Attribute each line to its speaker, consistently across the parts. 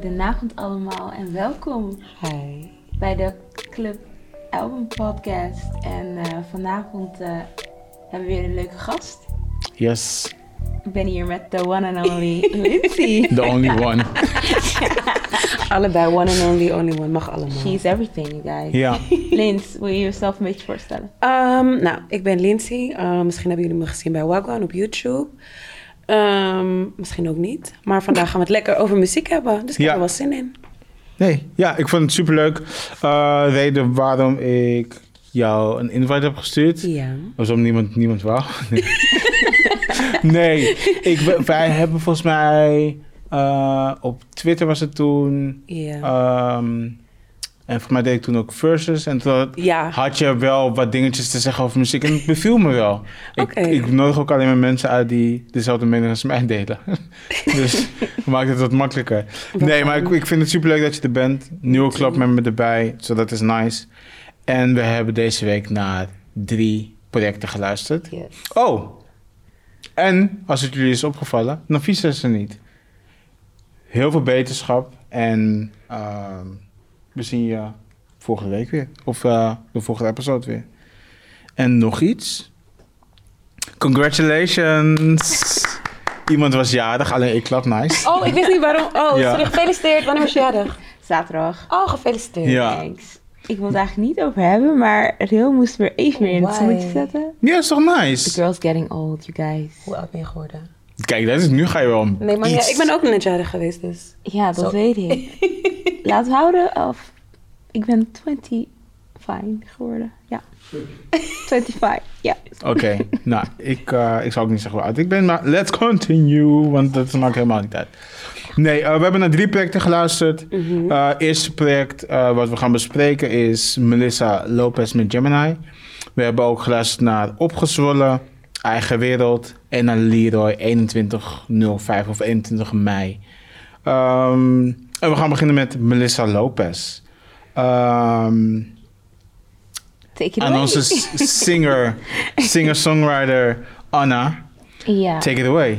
Speaker 1: Goedenavond allemaal en welkom
Speaker 2: Hi.
Speaker 1: bij de Club Album Podcast. En eh, vanavond eh, hebben we weer een leuke gast.
Speaker 3: Yes,
Speaker 1: Ik ben hier met the one and only Lindsay.
Speaker 3: the only one.
Speaker 2: Allebei one and only, only one. Mag allemaal.
Speaker 1: She's everything, you guys.
Speaker 3: Ja,
Speaker 1: Lins, wil je jezelf een beetje voorstellen?
Speaker 2: Ehm, nou, ik ben Lindsay. Ehm, misschien hebben jullie me gezien bij Wagwan op YouTube. Ehm, misschien ook niet. Maar vandaag gaan we het lekker over muziek hebben. Dus ik
Speaker 3: Ja.
Speaker 2: heb er wel zin in.
Speaker 3: nee, ja, ik vond het superleuk. Eh reden waarom ik jou een invite heb gestuurd,
Speaker 2: Ja.
Speaker 3: was om niemand, niemand wou. nee, ik, we- wij hebben volgens mij, eh, op Twitter was het toen,
Speaker 2: Ja.
Speaker 3: ehm, en voor mij deed ik toen ook verses, en toen
Speaker 2: ja.
Speaker 3: had je wel wat dingetjes te zeggen over muziek en het beviel me wel.
Speaker 2: Oké.
Speaker 3: Ik, ik nodig ook alleen maar mensen uit die dezelfde mening als mij delen. dus maakt het wat makkelijker. Nee, maar ik, ik vind het superleuk dat je er bent. Nieuwe clubmember erbij, zo dat is nice. En we hebben deze week naar drie projecten geluisterd.
Speaker 2: Yes.
Speaker 3: Oh, en als het jullie is opgevallen, Nafisa is er niet. Heel veel beterschap en ehm, we zien je volgende week weer. Of eh, de volgende episode weer. En nog iets. Congratulations. Iemand was jarig, alleen ik klap nice.
Speaker 2: Oh, ik wist niet waarom. Oh,
Speaker 3: Ja.
Speaker 2: sorry. Gefeliciteerd. Wanneer was je jarig?
Speaker 1: Zaterdag.
Speaker 2: Oh, gefeliciteerd.
Speaker 3: Ja.
Speaker 1: Thanks. Ik wil het eigenlijk niet over hebben, maar Riel moest weer even weer in het
Speaker 2: Why?
Speaker 1: zonnetje zetten.
Speaker 3: Ja, is toch
Speaker 1: The
Speaker 3: nice?
Speaker 1: girl's getting old, you guys.
Speaker 2: Hoe oud ben je geworden?
Speaker 3: Kijk, dat is, nu ga je wel om
Speaker 2: Nee, maar ja,
Speaker 3: iets.
Speaker 2: ik ben ook net jarig geweest, dus.
Speaker 1: Ja, dat
Speaker 2: Zo.
Speaker 1: weet ik. Laat houden of... Ik ben 25 geworden. Ja. 25, ja.
Speaker 3: Oké, nou, ik, eh, ik zal ook niet zeggen hoe oud ik ben, maar let's continue, want dat maakt helemaal niet uit. Nee, eh, we hebben naar drie projecten geluisterd. Eh, eerste project eh, wat we gaan bespreken is Melissa Lopez met Gemini. We hebben ook geluisterd naar Opgezwollen, Eigen Wereld en naar Leroy 2105 of 21 mei. Ehm, en we gaan beginnen met Melissa Lopez. Ehm
Speaker 1: Take it
Speaker 3: aan
Speaker 1: away.
Speaker 3: onze s- singer, singer-songwriter Anna.
Speaker 1: Ja.
Speaker 3: Take it away.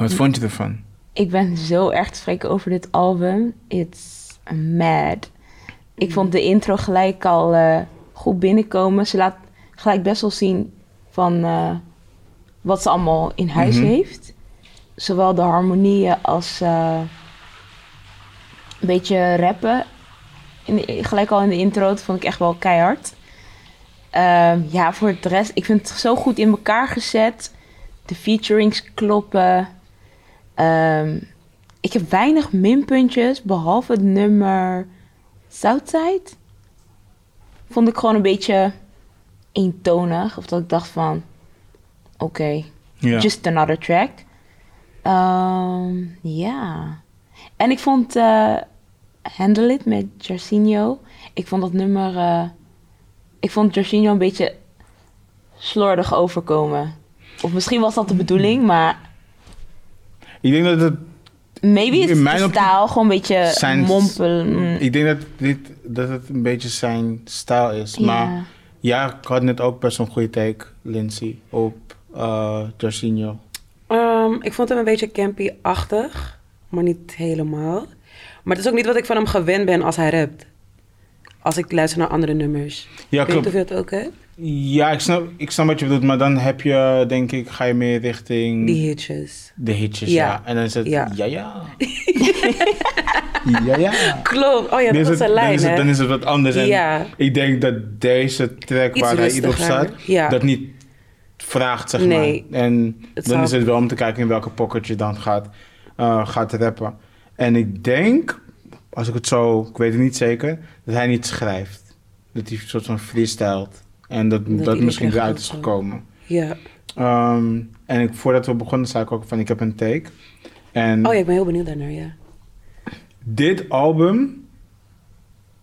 Speaker 3: Wat vond je ervan?
Speaker 1: Ik ben zo erg tevreden over dit album. It's mad. Ik vond de intro gelijk al eh, goed binnenkomen. Ze laat gelijk best wel zien van eh, wat ze allemaal in huis
Speaker 3: Mhm.
Speaker 1: heeft. Zowel de harmonieën als eh, een beetje rappen. In de- gelijk al in de intro, dat vond ik echt wel keihard. Ehm, ja, voor de rest, ik vind het zo goed in elkaar gezet. De featurings kloppen. Ehm, ik heb weinig minpuntjes, behalve het nummer Southside. Vond ik gewoon een beetje eentonig. Of dat ik dacht van, oké,
Speaker 3: Ja.
Speaker 1: just another track. Ehm, Ja. En ik vond eh Handle It met Jarcinho. Ik vond dat nummer... eh, ik vond Jarcinho een beetje slordig overkomen. Of misschien was dat de bedoeling, maar...
Speaker 3: Ik denk dat het,
Speaker 1: Maybe is
Speaker 3: In
Speaker 1: het
Speaker 3: mijn
Speaker 1: de mm.
Speaker 3: optiek
Speaker 1: staal gewoon een beetje
Speaker 3: zijn- Mm.
Speaker 1: mompelen.
Speaker 3: ik denk dat, dit, dat het een beetje zijn stijl is. Maar
Speaker 1: Ja.
Speaker 3: ja, ik had net ook best een goede take, Lindsay, op eh Jorginho.
Speaker 2: Ehm, ik vond hem een beetje campy-achtig, maar niet helemaal. Maar het is ook niet wat ik van hem gewend ben als hij rapt. Als ik luister naar andere nummers.
Speaker 3: Ja,
Speaker 2: ik weet niet
Speaker 3: klopt.
Speaker 2: of je dat ook hebt.
Speaker 3: Ja, ik snap, ik snap wat je bedoelt, maar dan heb je, denk ik, ga je meer richting
Speaker 2: Die hitjes.
Speaker 3: de hitjes. Ja.
Speaker 2: Ja.
Speaker 3: En dan is het ja,
Speaker 2: Ja.
Speaker 3: ja. Ja, ja.
Speaker 2: Klopt. Oh ja, dat
Speaker 3: Dan
Speaker 2: was
Speaker 3: is
Speaker 2: zijn
Speaker 3: het- dan
Speaker 2: lijn,
Speaker 3: is het-
Speaker 2: hè?
Speaker 3: Dan is het wat anders. En
Speaker 2: Ja.
Speaker 3: Ik denk dat deze track
Speaker 2: Iets
Speaker 3: waar hij ieder op
Speaker 2: rustiger.
Speaker 3: staat,
Speaker 2: Ja.
Speaker 3: dat niet vraagt, zeg
Speaker 2: Nee.
Speaker 3: maar. En
Speaker 2: Het
Speaker 3: dan
Speaker 2: zou-
Speaker 3: is het wel om te kijken in welke pocket je dan gaat, eh, gaat rappen. En ik denk, als ik het zo, ik weet het niet zeker, dat hij niet schrijft. Dat hij een soort van freestylt. En dat dat,
Speaker 2: hij niet
Speaker 3: misschien
Speaker 2: echt
Speaker 3: eruit
Speaker 2: goed
Speaker 3: is
Speaker 2: kan.
Speaker 3: gekomen.
Speaker 2: Ja.
Speaker 3: Ehm, en ik, voordat we begonnen, zei ik ook van, ik heb een take. En
Speaker 2: Oh ja, ik ben heel benieuwd daarnaar, ja.
Speaker 3: dit album,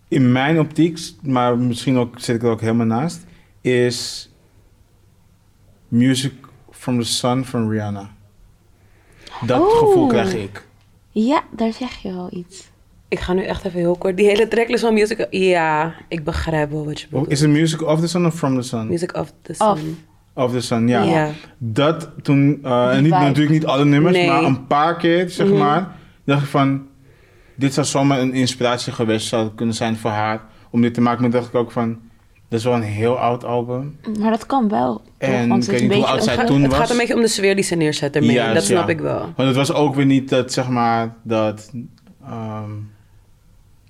Speaker 3: in mijn optiek, maar misschien ook, zit ik er ook helemaal naast, is Music from the Sun van Rihanna. Dat
Speaker 1: Oh.
Speaker 3: gevoel krijg ik.
Speaker 1: Ja, daar zeg je wel iets.
Speaker 2: Ik ga nu echt even heel kort. Die hele tracklist van Music... Ja, ik begrijp wel wat je bedoelt.
Speaker 3: Oh, Is het Music of the Sun of From the Sun?
Speaker 2: Music of the Sun.
Speaker 1: Of.
Speaker 3: Of the Sun, ja.
Speaker 2: Ja.
Speaker 3: Dat toen, eh, en niet,
Speaker 1: vibe.
Speaker 3: natuurlijk niet alle nummers,
Speaker 2: Nee.
Speaker 3: maar een paar keer, zeg maar, dacht ik van, dit zou zomaar een inspiratie geweest zou kunnen zijn voor haar. Om dit te maken. Maar dacht ik ook van, dat is wel een heel oud album.
Speaker 1: Maar dat kan wel.
Speaker 3: En
Speaker 1: want
Speaker 3: ik weet
Speaker 1: het
Speaker 3: niet
Speaker 1: is
Speaker 3: hoe
Speaker 1: een
Speaker 3: oud
Speaker 1: beetje...
Speaker 3: zij
Speaker 2: Het
Speaker 3: toen
Speaker 2: gaat- het
Speaker 3: was.
Speaker 2: gaat een beetje om de sfeer die ze neerzetten. ermee.
Speaker 3: Juist,
Speaker 2: dat snap
Speaker 3: ja.
Speaker 2: ik wel.
Speaker 3: Want het was ook weer niet dat, zeg maar, dat ehm,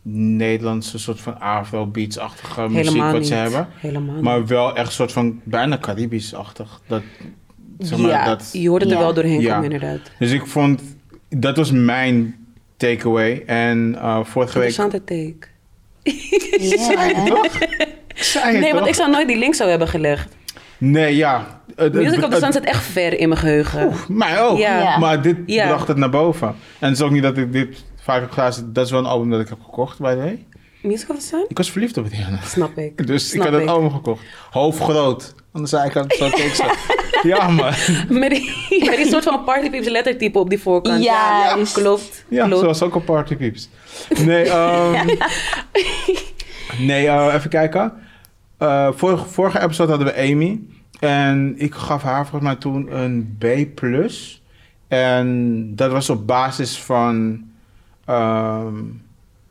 Speaker 3: Nederlandse soort van afrobeats-achtige muziek
Speaker 2: Helemaal
Speaker 3: wat
Speaker 2: niet.
Speaker 3: ze hebben.
Speaker 2: Helemaal niet.
Speaker 3: Maar wel echt soort van bijna Caribisch-achtig. Dat, zeg maar,
Speaker 2: ja,
Speaker 3: dat,
Speaker 2: je hoort het er
Speaker 1: Ja.
Speaker 2: wel doorheen
Speaker 3: Ja.
Speaker 2: komen inderdaad.
Speaker 3: Dus ik vond, dat was mijn takeaway. En eh vorige week...
Speaker 2: Interessante take.
Speaker 1: Ja, hè?
Speaker 3: Ik zei het
Speaker 2: Nee, want
Speaker 3: toch? Eh,
Speaker 2: ik zou nooit die link zo hebben gelegd.
Speaker 3: Nee, ja. Het- Het,
Speaker 2: Music of the
Speaker 3: het-
Speaker 2: Sun zit echt ver in mijn geheugen.
Speaker 3: eh, Oeh, mij ook.
Speaker 2: Ja.
Speaker 1: Ja.
Speaker 3: Maar dit
Speaker 2: Ja.
Speaker 3: bracht het naar boven. En het is ook niet dat ik dit vaak heb geluisterd. Dat is wel een album dat ik heb gekocht bij de...
Speaker 2: Music of the Sun?
Speaker 3: Ik was verliefd op het Rihanna.
Speaker 2: Snap ik.
Speaker 3: Dus
Speaker 2: Snap
Speaker 3: ik had het allemaal gekocht. Hoofd groot. Anders zei ik had het zo teksten. ja, man.
Speaker 2: Met die, met die soort van party peeps lettertype op die voorkant.
Speaker 1: Ja,
Speaker 2: ja,
Speaker 1: juist.
Speaker 2: klopt.
Speaker 3: Ja,
Speaker 2: klopt.
Speaker 3: zoals ook op Party Peeps. Nee, ehm, nee eh, even kijken. Eh, vorige, vorige episode hadden we Amy. En ik gaf haar volgens mij toen een B+. En dat was op basis van... ehm,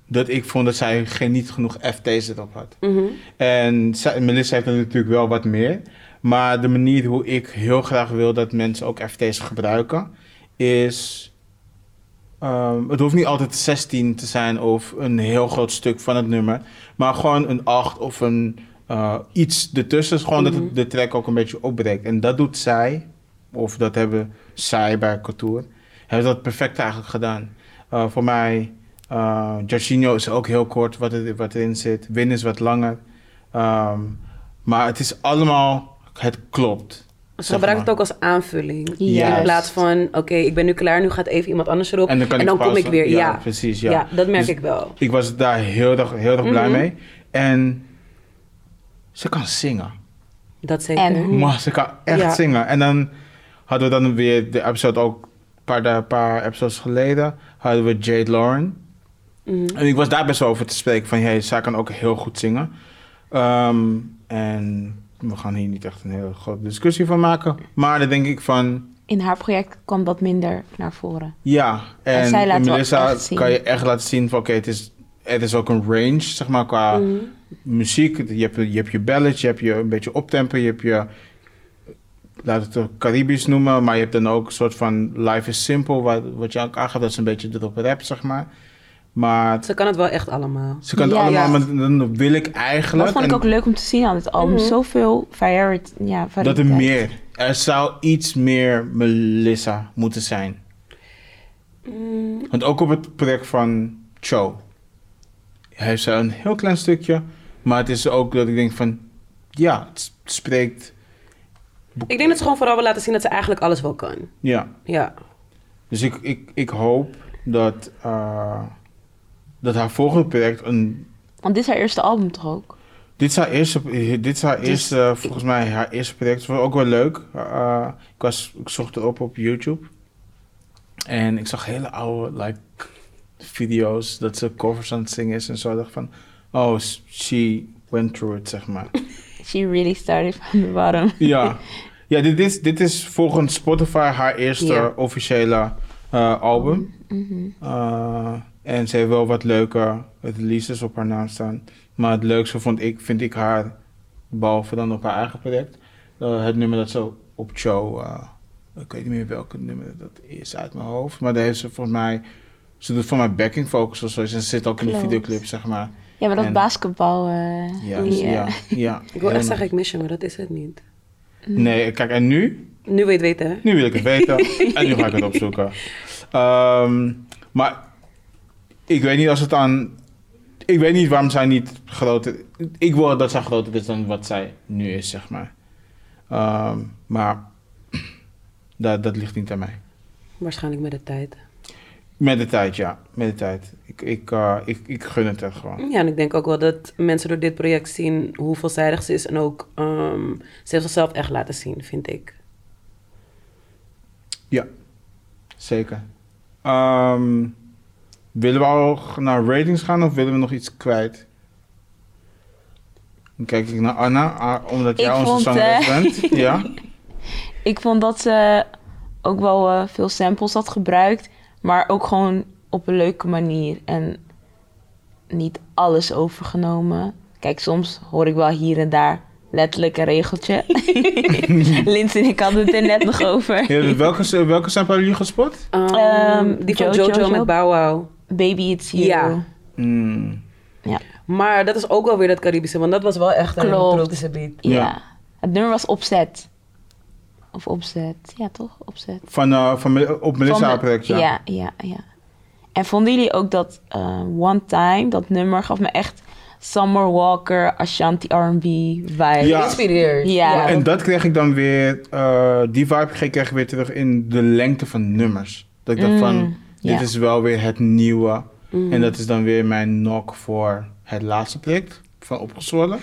Speaker 3: dat ik vond dat zij geen, niet genoeg FT's erop had.
Speaker 2: Mhm.
Speaker 3: En zij- Melissa heeft er natuurlijk wel wat meer. Maar de manier hoe ik heel graag wil dat mensen ook FT's gebruiken, is. ehm, het hoeft niet altijd 16 te zijn of een heel groot stuk van het nummer. Maar gewoon een 8 of een eh, iets ertussen. Gewoon dat
Speaker 2: Mhm.
Speaker 3: het de track ook een beetje opbreekt. En dat doet zij, of dat hebben zij bij Couture, hebben dat perfect eigenlijk gedaan. Eh, voor mij, eh Jorginho is ook heel kort wat, er, wat erin zit. Win is wat langer. Ehm, maar het is allemaal, het klopt.
Speaker 2: Ze
Speaker 3: Zeg
Speaker 2: gebruiken
Speaker 3: maar.
Speaker 2: het ook als aanvulling.
Speaker 1: Juist.
Speaker 2: In plaats van, oké, ik ben nu klaar, nu gaat even iemand anders erop.
Speaker 3: En dan, kan
Speaker 2: en dan
Speaker 3: ik
Speaker 2: kom ik
Speaker 3: pauzen.
Speaker 2: weer. Ja, ja,
Speaker 3: precies. Ja.
Speaker 2: dat merk
Speaker 3: Dus-
Speaker 2: ik wel.
Speaker 3: Ik was daar heel erg, heel erg blij
Speaker 2: Mhm.
Speaker 3: mee. En ze kan zingen.
Speaker 2: Dat zeker.
Speaker 1: En- Mhm.
Speaker 3: Maar ze kan echt
Speaker 2: Ja.
Speaker 3: zingen. En dan hadden we dan weer de episode ook een paar, da- paar episodes geleden hadden we Jade Lauren.
Speaker 2: Mhm.
Speaker 3: En ik was daar best wel over te spreken van, hey, zij kan ook heel goed zingen. Ehm, en we gaan hier niet echt een hele grote discussie van maken. Maar dan denk ik van,
Speaker 1: In haar project kwam dat minder naar voren.
Speaker 3: ja, en,
Speaker 1: En zij laat
Speaker 3: in
Speaker 1: wel
Speaker 3: Melissa
Speaker 1: echt zien.
Speaker 3: kan je echt laten zien van oké, het, is, het is ook een range, zeg maar, qua
Speaker 2: Mhm.
Speaker 3: muziek. Je hebt je, hebt je ballads, je hebt je een beetje optempo, je hebt je, laten we het Caribisch noemen, maar je hebt dan ook een soort van Life is Simple, wat, wat je ook aangaat, dat is een beetje erop rap, zeg maar. Maar
Speaker 2: Ze kan het wel echt allemaal.
Speaker 3: ze kan het
Speaker 1: Ja,
Speaker 3: allemaal,
Speaker 1: ja.
Speaker 3: maar dan wil ik eigenlijk...
Speaker 1: Dat vond ik
Speaker 3: en
Speaker 1: ook leuk om te zien aan het album.
Speaker 2: Mhm.
Speaker 1: Zoveel variety. Ja,
Speaker 3: dat er
Speaker 1: variëteit.
Speaker 3: meer, er zou iets meer Melissa moeten zijn.
Speaker 2: Mm,
Speaker 3: Want ook op het project van Cho heeft ze een heel klein stukje, maar het is ook dat ik denk van, ja, het s- spreekt.
Speaker 2: Ik denk dat ze gewoon vooral wil laten zien dat ze eigenlijk alles wel kan.
Speaker 3: Ja,
Speaker 2: Ja.
Speaker 3: dus ik, ik, ik hoop dat, eh, dat haar volgende project een.
Speaker 1: Want dit is haar eerste album toch ook?
Speaker 3: Dit is haar eerste, dit is haar
Speaker 2: Dus
Speaker 3: eerste volgens mij haar eerste project. Het was ook wel leuk. Eh, ik, was, ik zocht erop op YouTube. En ik zag hele oude like, video's dat ze covers aan het zingen is en zo. Ik dacht van, oh, s- she went through it, zeg maar.
Speaker 1: She really started from the bottom.
Speaker 3: Ja, ja dit, is, dit is volgens Spotify haar eerste
Speaker 2: Ja.
Speaker 3: officiële eh, album.
Speaker 1: Mhm.
Speaker 3: Eh, en ze heeft wel wat leuke releases op haar naam staan. Maar het leukste vond ik, vind ik haar, behalve dan op haar eigen project, eh, het nummer dat ze op show, eh, ik weet niet meer welke nummer dat is uit mijn hoofd, maar daar heeft ze voor mij, ze doet voor mij backing vocals of zo. En ze zit ook in de
Speaker 1: Klopt.
Speaker 3: videoclip, zeg maar.
Speaker 1: Ja, maar dat
Speaker 3: En-
Speaker 1: basketbal... eh,
Speaker 3: Ja, dus-
Speaker 1: die, eh,
Speaker 3: ja,
Speaker 2: Ik wil
Speaker 3: ja.
Speaker 2: echt
Speaker 3: Helemaal.
Speaker 2: zeggen, ik mis je, maar dat is het niet.
Speaker 3: Nee, kijk, en nu?
Speaker 2: Nu weet je het weten, hè?
Speaker 3: Nu wil ik het weten en nu ga ik het opzoeken. Ehm, maar ik weet niet als het aan. Ik weet niet waarom zij niet groter. Ik wil dat zij groter is dan wat zij nu is, zeg maar. Ehm, maar dat, dat ligt niet aan mij.
Speaker 2: Waarschijnlijk met de tijd.
Speaker 3: Met de tijd, ja. Met de tijd. Ik, ik, eh, ik, ik gun het er gewoon.
Speaker 2: Ja, en ik denk ook wel dat mensen door dit project zien hoe veelzijdig ze is. En ook, ehm, ze heeft zichzelf echt laten zien, vind ik.
Speaker 3: Zeker. Ehm, willen we al naar ratings gaan of willen we nog iets kwijt? Dan kijk ik naar Anna, ah, omdat jij
Speaker 1: Ik
Speaker 3: onze
Speaker 1: vond,
Speaker 3: zangeres
Speaker 1: eh,
Speaker 3: bent. Ja?
Speaker 1: Ik vond dat ze ook wel eh, veel samples had gebruikt. Maar ook gewoon op een leuke manier en niet alles overgenomen. Kijk, soms hoor ik wel hier en daar letterlijk een regeltje. Lindsay en ik hadden het er net nog over.
Speaker 3: Ja, welke, welke zijn jullie gespot?
Speaker 2: Ehm,
Speaker 1: Ehm,
Speaker 2: die van
Speaker 1: Jo-
Speaker 2: Jojo,
Speaker 1: Jojo.
Speaker 2: met Bow Wow.
Speaker 1: Baby It's You.
Speaker 2: Ja.
Speaker 3: Mm.
Speaker 1: Ja.
Speaker 2: Maar dat is ook wel weer dat Caribische, want dat was wel echt een
Speaker 1: Klopt.
Speaker 2: tropische beat.
Speaker 1: Ja.
Speaker 3: Ja.
Speaker 1: Het nummer was opzet. Of opzet. Ja, toch? Opzet.
Speaker 3: Van, eh, van, Mel- op Melissa
Speaker 1: Van de-
Speaker 3: project, ja.
Speaker 1: Ja, ja, ja. En vonden jullie ook dat eh, One Time, dat nummer, gaf me echt Summer Walker, Ashanti R&B vibe.
Speaker 3: Ja.
Speaker 2: Geïnspireerd.
Speaker 1: Ja.
Speaker 2: Ja.
Speaker 3: En dat kreeg ik dan weer, eh, die vibe kreeg ik weer terug in de lengte van nummers. Dat ik dacht
Speaker 1: Mm,
Speaker 3: van, dit
Speaker 1: ja. Mm.
Speaker 3: is wel weer het nieuwe.
Speaker 2: Mhm.
Speaker 3: En dat is dan weer mijn knock voor het laatste project van Opgezwollen.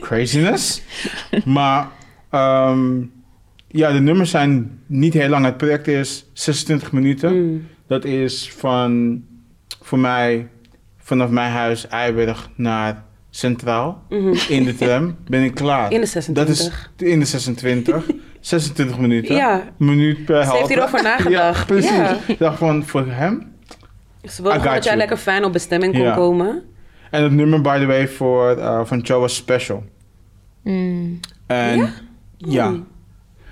Speaker 3: Craziness. Maar ehm, ja, de nummers zijn niet heel lang. Het project is 26 minuten.
Speaker 2: Mm.
Speaker 3: Dat is van, voor mij, vanaf mijn huis Eiberg naar Centraal.
Speaker 2: Mhm.
Speaker 3: In de tram ben ik klaar.
Speaker 2: In de 26.
Speaker 3: Dat is in de 26. 26 minuten.
Speaker 2: Ja.
Speaker 3: Minuut per
Speaker 2: Ze heeft
Speaker 3: halve.
Speaker 2: hierover
Speaker 3: Ja,
Speaker 2: nagedacht.
Speaker 3: precies.
Speaker 2: Ja.
Speaker 3: Ik dacht van, voor hem.
Speaker 2: Ze
Speaker 3: I
Speaker 2: wilde gewoon
Speaker 3: got
Speaker 2: dat jij
Speaker 3: you.
Speaker 2: lekker fijn op bestemming kon
Speaker 3: Ja.
Speaker 2: komen.
Speaker 3: En het nummer, by the way, voor, eh, van Joe was special.
Speaker 1: Mm.
Speaker 3: En, ja?
Speaker 2: Mm.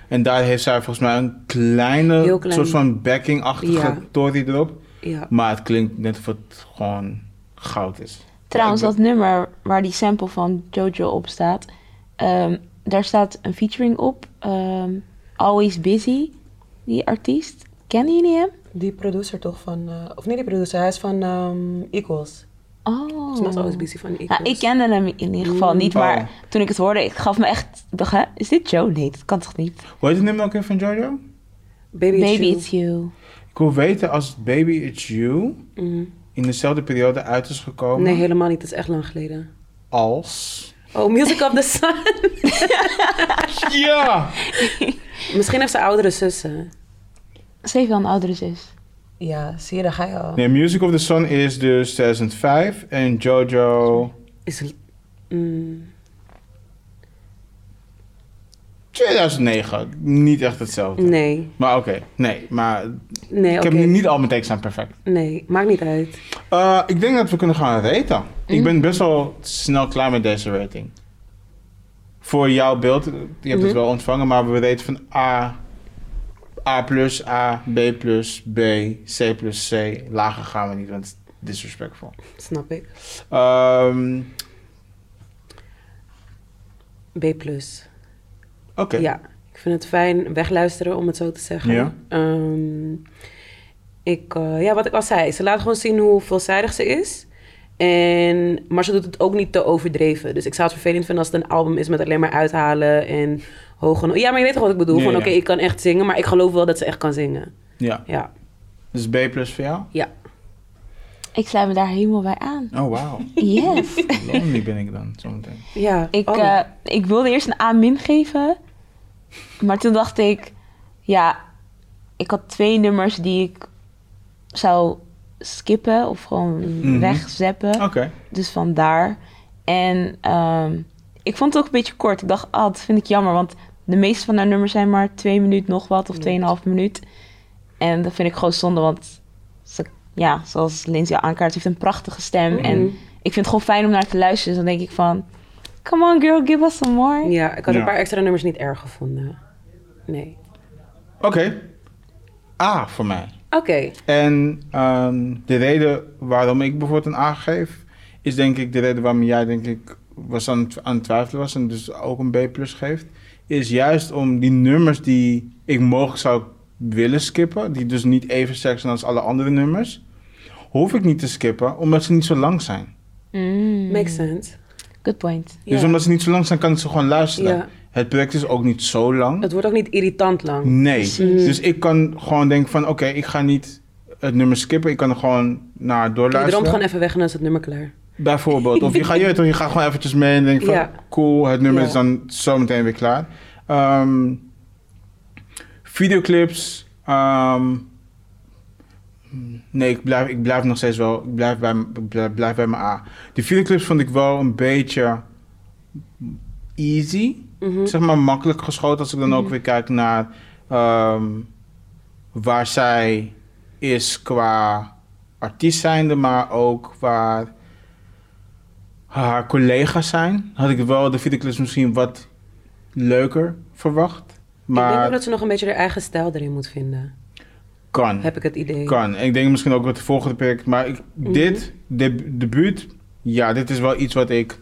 Speaker 3: En daar heeft zij volgens mij een kleine
Speaker 2: Heel klein.
Speaker 3: soort van backing-achtige
Speaker 2: Ja.
Speaker 3: tory erop.
Speaker 2: Ja.
Speaker 3: Maar het klinkt net of het gewoon goud is.
Speaker 1: Trouwens,
Speaker 3: Ik
Speaker 1: dat nummer waar die sample van Jojo op staat, ehm, daar staat een featuring op. ehm, Always Busy, die artiest. Kennen jullie hem?
Speaker 4: Die producer toch van... eh, of niet die producer, hij is van ehm, Equals.
Speaker 1: Oh.
Speaker 2: Volgens mij is busy van ik.
Speaker 1: Nou, ik kende hem in ieder geval niet,
Speaker 3: Oh.
Speaker 1: maar toen ik het hoorde, ik gaf me echt, ik dacht, hè, is dit Joe? Nee, dat kan toch niet?
Speaker 3: Hoe heet het nummer ook weer van Jojo?
Speaker 2: Baby, it's
Speaker 1: Baby
Speaker 2: you.
Speaker 1: It's You.
Speaker 3: Ik wil weten als Baby It's You
Speaker 2: Mhm.
Speaker 3: in dezelfde periode uit is gekomen
Speaker 2: Nee, helemaal niet. Dat is echt lang geleden.
Speaker 3: als...
Speaker 2: Oh, Music of the Sun.
Speaker 3: Ja!
Speaker 2: Misschien heeft ze oudere zussen.
Speaker 1: Ze heeft wel een oudere zus.
Speaker 4: Ja, zie je, daar ga je al.
Speaker 3: Nee, Music of the Sun is dus 2005 en JoJo
Speaker 2: Is een- Mm.
Speaker 3: 2009. Niet echt hetzelfde.
Speaker 2: Nee,
Speaker 3: Maar oké, nee, maar
Speaker 2: nee,
Speaker 3: ik
Speaker 2: oké.
Speaker 3: heb nu niet al mijn tekst aan perfect.
Speaker 2: Nee, maakt niet uit.
Speaker 3: Eh, ik denk dat we kunnen gaan raten.
Speaker 2: Mhm.
Speaker 3: Ik ben best wel snel klaar met deze rating. Voor jouw beeld, je hebt het
Speaker 2: Mhm.
Speaker 3: wel ontvangen, maar we raten van A, A plus, A, B plus, B, C plus, C. Lager gaan we niet, want het is disrespectful.
Speaker 2: Snap ik.
Speaker 3: Ehm,
Speaker 2: B+. plus.
Speaker 3: oké.
Speaker 2: Ja, ik vind het fijn wegluisteren, om het zo te zeggen.
Speaker 3: Ja.
Speaker 2: Ehm, ik, eh, ja, wat ik al zei, ze laat gewoon zien hoe veelzijdig ze is. En, maar ze doet het ook niet te overdreven. Dus ik zou het vervelend vinden als het een album is met alleen maar uithalen en hoge... Ja, maar je weet toch wat ik bedoel?
Speaker 3: Ja,
Speaker 2: van
Speaker 3: ja.
Speaker 2: oké, ik kan echt zingen, maar ik geloof wel dat ze echt kan zingen.
Speaker 3: ja.
Speaker 2: Ja,
Speaker 3: Dus B plus voor jou?
Speaker 2: ja.
Speaker 1: Ik sluit me daar helemaal bij aan.
Speaker 3: Oh, wauw.
Speaker 1: Yes.
Speaker 3: Lonely ben ik dan zometeen.
Speaker 2: ja.
Speaker 1: ik,
Speaker 2: Oh.
Speaker 1: eh, ik wilde eerst een A-min geven, maar toen dacht ik, ja, ik had twee nummers die ik zou skippen of gewoon
Speaker 3: Mhm.
Speaker 1: wegzeppen.
Speaker 3: Oké.
Speaker 1: Dus vandaar. En ehm, ik vond het ook een beetje kort. Ik dacht, ah, dat vind ik jammer. Want de meeste van haar nummers zijn maar twee minuut nog wat. Of tweeënhalf minuut. En dat vind ik gewoon zonde. Want ze, ja, zoals Lindsay al aankaart, ze heeft een prachtige stem. En
Speaker 2: Mhm.
Speaker 1: ik vind het gewoon fijn om naar te luisteren. Dus dan denk ik van, come on girl, give us some more.
Speaker 2: Ja, ik had
Speaker 3: Ja.
Speaker 2: een paar extra nummers niet erg gevonden. Nee.
Speaker 3: Oké. A voor mij.
Speaker 2: Oké.
Speaker 3: En ehm, de reden waarom ik bijvoorbeeld een A geef, is denk ik de reden waarom jij denk ik was aan, het- aan het twijfelen was en dus ook een B plus geeft, is juist om die nummers die ik mogelijk zou willen skippen, die dus niet even sterk zijn als alle andere nummers, hoef ik niet te skippen omdat ze niet zo lang zijn.
Speaker 1: Mm.
Speaker 2: Makes
Speaker 4: Hmm.
Speaker 2: sense.
Speaker 1: Good point.
Speaker 3: Dus
Speaker 2: Ja.
Speaker 3: omdat ze niet zo lang zijn, kan ik ze gewoon luisteren.
Speaker 2: Ja.
Speaker 3: Het project is ook niet zo lang.
Speaker 2: Het wordt ook niet irritant lang.
Speaker 3: Nee.
Speaker 1: Precies.
Speaker 3: Dus ik kan gewoon denken van oké, ik ga niet het nummer skippen. Ik kan er gewoon naar
Speaker 2: Je droomt
Speaker 3: doorluisteren.
Speaker 2: gewoon even weg en dan is het nummer klaar.
Speaker 3: Bijvoorbeeld. Of je gaat, je, weet toch, je gaat gewoon eventjes mee en denkt van
Speaker 2: Ja.
Speaker 3: cool, het nummer
Speaker 2: Ja.
Speaker 3: is dan zometeen weer klaar. Ehm, videoclips. ehm, nee, ik blijf, ik blijf nog steeds wel. Ik blijf bij, m- ik blijf, blijf bij mijn A. De videoclips vond ik wel een beetje easy
Speaker 2: Mhm.
Speaker 3: zeg maar makkelijk geschoten als ik dan ook weer kijk naar ehm, waar zij is qua artiest zijnde, maar ook qua haar collega's zijn, had ik wel de videoclips misschien wat leuker verwacht.
Speaker 2: Ik denk
Speaker 3: Maar
Speaker 2: ook dat ze nog een beetje haar eigen stijl erin moet vinden.
Speaker 3: kan.
Speaker 2: Heb ik het idee.
Speaker 3: Kan. En ik denk misschien ook wat de volgende project. Maar ik,
Speaker 1: Mhm.
Speaker 3: dit, de debuut, ja, dit is wel iets wat ik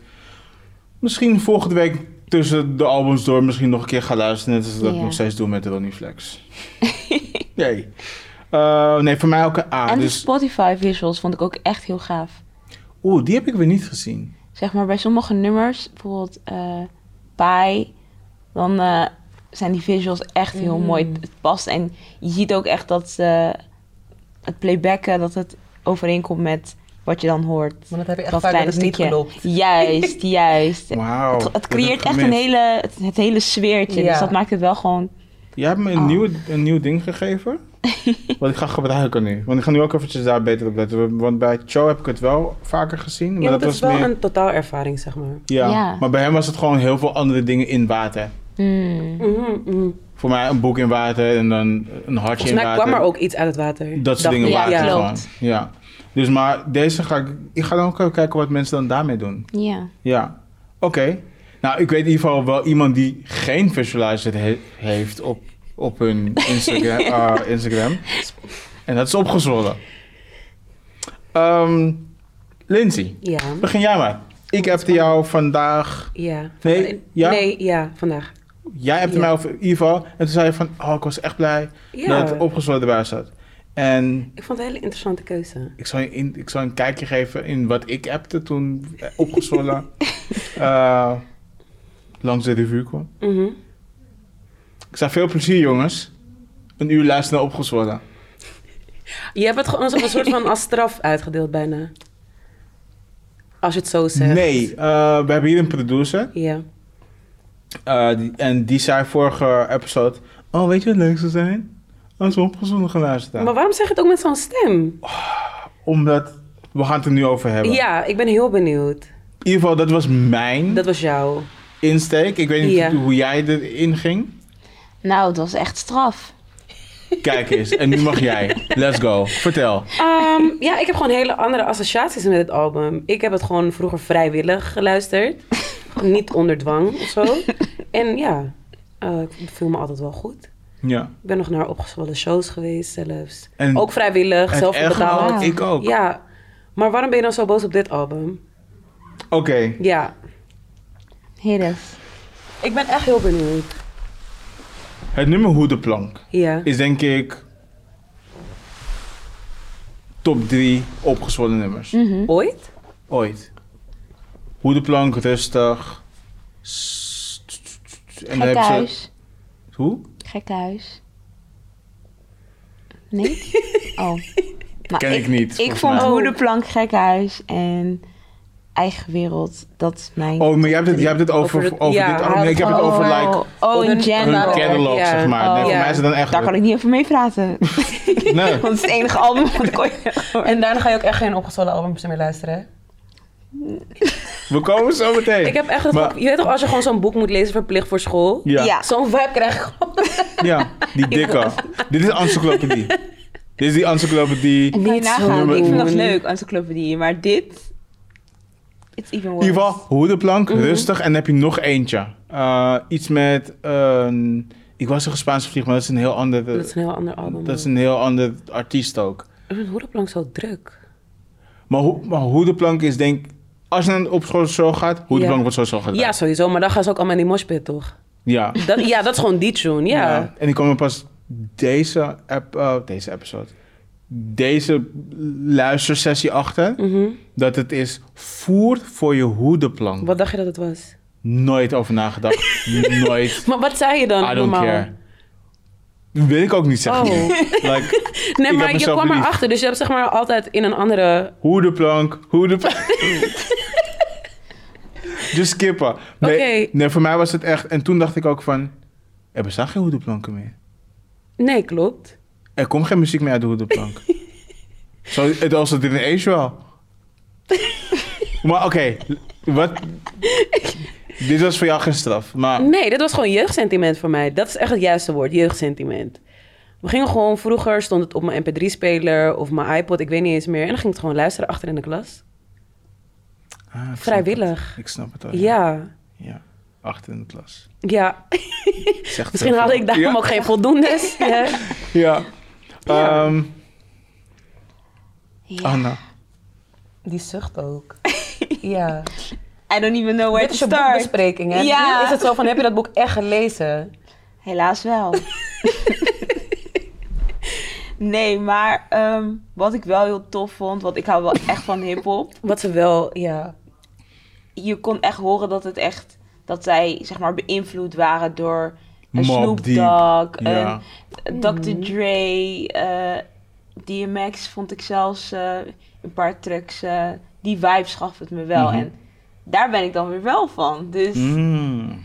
Speaker 3: misschien volgende week tussen de albums door misschien nog een keer ga luisteren. Net als dat ik
Speaker 1: Ja.
Speaker 3: nog steeds doe met Ronnie Flex. nee. Eh, nee, voor mij ook een A.
Speaker 1: en de
Speaker 3: Dus,
Speaker 1: Spotify visuals vond ik ook echt heel gaaf.
Speaker 3: Oeh, die heb ik weer niet gezien.
Speaker 1: Zeg maar bij sommige nummers, bijvoorbeeld eh Pie, dan eh, zijn die visuals echt heel
Speaker 4: Mm.
Speaker 1: mooi. Het- Het past en je ziet ook echt dat ze het playbacken, dat het overeenkomt met wat je dan hoort.
Speaker 4: Want dat heb je echt
Speaker 1: Dat
Speaker 4: vaak met
Speaker 1: kleine
Speaker 4: een stukje.
Speaker 1: stukje.
Speaker 4: klopt.
Speaker 1: Juist, juist.
Speaker 3: Wauw.
Speaker 1: Het,
Speaker 3: dat heb
Speaker 1: het
Speaker 3: ik
Speaker 1: creëert echt een
Speaker 3: gemist.
Speaker 1: hele, het, het hele sfeertje.
Speaker 4: Ja.
Speaker 1: Dus dat maakt het wel gewoon
Speaker 3: Jij hebt me een,
Speaker 1: Oh.
Speaker 3: nieuwe, een nieuw ding gegeven. wat ik ga gebruiken nu. Want ik ga nu ook eventjes daar beter op letten. Want bij Cho heb ik het wel vaker gezien. Maar
Speaker 2: Ja,
Speaker 3: dat
Speaker 2: dat
Speaker 3: was
Speaker 2: is wel
Speaker 3: meer...
Speaker 2: een totaalervaring, zeg maar.
Speaker 3: Ja.
Speaker 1: Ja.
Speaker 3: maar bij hem was het gewoon heel veel andere dingen in water.
Speaker 4: Mm.
Speaker 1: Hmm.
Speaker 2: Mhm, mhm.
Speaker 3: Voor mij een boek in water en dan een hartje
Speaker 2: Volgens
Speaker 3: in
Speaker 2: mij
Speaker 3: water.
Speaker 2: kwam er ook iets uit het water.
Speaker 3: Dat soort
Speaker 2: Dacht
Speaker 3: dingen
Speaker 2: ik.
Speaker 1: ja,
Speaker 3: water
Speaker 1: klopt.
Speaker 3: gewoon. Ja. Dus maar deze ga ik... Ik ga dan ook even kijken wat mensen dan daarmee doen.
Speaker 1: Ja.
Speaker 3: Ja. Oké. Nou, ik weet in ieder geval wel iemand die geen visualizer he- heeft op, op hun Instagram. eh, Instagram. En dat is opgezwollen. Ehm Lindsay,
Speaker 2: Ja.
Speaker 3: begin jij maar. Ik heb jou vandaag
Speaker 2: Ja.
Speaker 3: Nee, ja?
Speaker 2: Nee, ja, vandaag.
Speaker 3: Jij hebt
Speaker 2: Ja.
Speaker 3: mij over Ivo. En toen zei je van, oh, ik was echt blij
Speaker 2: Ja.
Speaker 3: dat Nou, het opgesloten erbij zat. En
Speaker 2: Ik vond het een hele interessante keuze.
Speaker 3: ik zal, je in, ik zal een kijkje geven in wat ik appte toen eh, opgezwollen eh, langs de revue kwam.
Speaker 2: Mhm.
Speaker 3: Ik zei, veel plezier jongens. Een uur luisteren naar opgezwollen.
Speaker 2: Je hebt het gewoon als een soort van als straf uitgedeeld bijna. Als je het zo zegt.
Speaker 3: Nee, eh, we hebben hier een producer.
Speaker 2: Ja.
Speaker 3: Eh, die- en die zei vorige episode, oh, weet je wat leuk zou zijn? Als we opgezwollen gaan luisteren.
Speaker 2: Maar waarom zeg je het ook met zo'n stem?
Speaker 3: Omdat, we gaan het er nu over hebben.
Speaker 2: Ja, ik ben heel benieuwd.
Speaker 3: In ieder geval, dat was mijn...
Speaker 2: Dat was jou.
Speaker 3: insteek. Ik weet niet
Speaker 2: Ja.
Speaker 3: hoe jij erin ging.
Speaker 1: Nou, het was echt straf.
Speaker 3: Kijk eens, en nu mag jij. Let's go. Vertel.
Speaker 2: Ehm, ja, ik heb gewoon hele andere associaties met het album. Ik heb het gewoon vroeger vrijwillig geluisterd. niet onder dwang of zo. En ja, eh, het viel me altijd wel goed.
Speaker 3: Ja.
Speaker 2: Ik ben nog naar opgezwollen shows geweest zelfs.
Speaker 3: En
Speaker 2: ook vrijwillig, zelf
Speaker 3: Het erge
Speaker 2: betaald.
Speaker 3: was, Ik ook.
Speaker 2: Ja, maar waarom ben je dan zo boos op dit album?
Speaker 3: Oké.
Speaker 2: Ja,
Speaker 1: Hiddes.
Speaker 2: ik ben echt heel benieuwd.
Speaker 3: Het nummer Hoe de Plank
Speaker 2: Ja,
Speaker 3: is denk ik top 3 opgezwollen nummers.
Speaker 2: ooit?
Speaker 3: Ooit. Hoe de Plank, rustig. S- En
Speaker 1: Gek
Speaker 3: hebben ze-
Speaker 1: huis.
Speaker 3: Hoe?
Speaker 1: Gek huis. Nee? Oh. Maar
Speaker 3: Ken ik niet,
Speaker 1: Ik
Speaker 3: volgens
Speaker 1: vond
Speaker 3: mij.
Speaker 1: Hoedenplank gek huis en Eigen Wereld, dat is mijn...
Speaker 3: Oh, maar jij hebt het, jij hebt het over,
Speaker 2: Over
Speaker 3: over,
Speaker 2: het- ja,
Speaker 3: dit.
Speaker 2: hij
Speaker 3: Oh, nee, ik heb het over like,
Speaker 1: Oh,
Speaker 2: hun-
Speaker 1: in
Speaker 3: hun
Speaker 1: general.
Speaker 3: catalog,
Speaker 2: Ja.
Speaker 3: zeg maar. Nee,
Speaker 1: Oh.
Speaker 3: voor mij is het dan echt...
Speaker 1: Daar kan ik niet over mee praten.
Speaker 3: Nee.
Speaker 1: Want het is het enige album wat ik ooit heb gehoord.
Speaker 4: En daarna ga je ook echt geen opgezwollen albums meer luisteren, hè?
Speaker 3: We komen zo meteen.
Speaker 2: Ik heb echt het
Speaker 3: Maar-
Speaker 2: Je weet toch, als je gewoon zo'n boek moet lezen verplicht voor school?
Speaker 3: Ja, Eh, ja.
Speaker 1: Ja.
Speaker 2: Zo'n vibe krijg ik gewoon.
Speaker 3: die dikke. Dit is encyclopedie. Dit is die encyclopedie.
Speaker 1: Ik
Speaker 3: In
Speaker 1: kan je
Speaker 2: Niet zo
Speaker 1: nagaan. Ik vind dat
Speaker 2: doen.
Speaker 1: leuk, encyclopedie. Maar dit... It's even worse.
Speaker 3: ieder geval, hoedenplank, rustig. En dan heb je nog eentje. Eh, iets met... een- ik was een Spaanse vlieg, maar dat is een heel ander...
Speaker 2: Dat is een heel ander album.
Speaker 3: dat is een heel ander artiest ook.
Speaker 2: Ik vind Hoerenplank zo druk.
Speaker 3: Maar, hoe maar hoedenplank is denk Als je dan op school zo gaat, hoedenplank
Speaker 2: Ja.
Speaker 3: wordt zo zo gedaan.
Speaker 2: Ja, sowieso. Maar dan gaan ze ook allemaal in die moshpit, toch?
Speaker 3: Ja.
Speaker 2: Dat, ja, dat is gewoon die tune, ja.
Speaker 3: Ja. En die komen pas deze, app, eh, deze episode... Deze luistersessie achter...
Speaker 2: Mhm.
Speaker 3: dat het is voer voor je hoedenplank.
Speaker 2: Wat dacht je dat het was?
Speaker 3: Nooit over nagedacht. Nooit.
Speaker 2: Maar wat zei je dan
Speaker 3: I don't
Speaker 2: normaal?
Speaker 3: care. Wil ik ook niet zeggen.
Speaker 2: Oh.
Speaker 3: Like,
Speaker 2: Nee,
Speaker 3: heb
Speaker 2: maar je
Speaker 3: mezelf
Speaker 2: kwam
Speaker 3: lief.
Speaker 2: erachter. Dus je hebt zeg maar altijd in een andere...
Speaker 3: hoedenplank, hoedenplank. Just skippen. Nee,
Speaker 2: Oké.
Speaker 3: nee, voor mij was het echt... En toen dacht ik ook van... Er bestaan geen hoedenplanken meer.
Speaker 2: Nee, klopt.
Speaker 3: Er komt geen muziek meer uit de hoedenplank. Zo, het was het ineens wel. maar oké, wat... Dit was voor
Speaker 2: Mm,
Speaker 3: jou geen straf, maar... Ah,
Speaker 2: Nee, dat was gewoon jeugdsentiment voor mij. Dat is echt het juiste woord, jeugdsentiment. We gingen gewoon, vroeger stond het op mijn mp3-speler of mijn iPod, ik weet niet eens meer. En dan ging ik het gewoon luisteren achter in de klas.
Speaker 3: Ah, ik snap
Speaker 2: Vrijwillig.
Speaker 3: het. Ik snap het al.
Speaker 2: Ja,
Speaker 3: Oh, ja. Achter in de klas.
Speaker 2: ja.
Speaker 3: Zegt
Speaker 2: Misschien
Speaker 3: zoveel.
Speaker 2: had ik daarom
Speaker 3: ja.
Speaker 2: ook geen voldoendes. Ja.
Speaker 3: Ja.
Speaker 2: Ja.
Speaker 3: Ehm,
Speaker 1: Ja.
Speaker 3: Anna.
Speaker 4: Die zucht ook. ja.
Speaker 1: I don't even know
Speaker 4: Dit
Speaker 1: where to
Speaker 4: is je
Speaker 1: start.
Speaker 4: boekbespreking, hè?
Speaker 1: Ja.
Speaker 4: Nu Is het zo van, heb je dat boek echt gelezen?
Speaker 1: Helaas wel. nee, maar ehm, wat ik wel heel tof vond, want ik hou wel echt van hip-hop.
Speaker 2: Wat ze wel,
Speaker 4: Ja.
Speaker 1: Je kon echt horen dat het echt, dat zij zeg maar beïnvloed waren door een
Speaker 3: Mobb
Speaker 1: Snoop
Speaker 3: Deep,
Speaker 1: Dogg,
Speaker 3: Ja.
Speaker 1: een Dr. Dre, eh, DMX vond ik zelfs eh, een paar tracks. eh, die vibes gaf het me wel.
Speaker 3: Mhm.
Speaker 1: En daar ben ik dan weer wel van. Dus.
Speaker 3: Mm.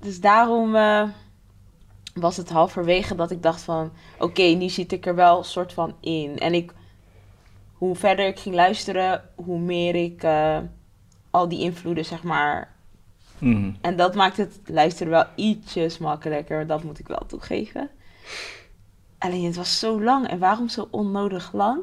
Speaker 1: Dus daarom eh, was het halverwege dat ik dacht van... Oké, nu zit ik er wel soort van in. En ik, hoe verder ik ging luisteren, hoe meer ik eh, al die invloeden, zeg maar...
Speaker 3: Mhm.
Speaker 1: En dat maakt het luisteren wel ietsjes makkelijker. Dat moet ik wel toegeven. Alleen het was zo lang. En waarom zo onnodig lang?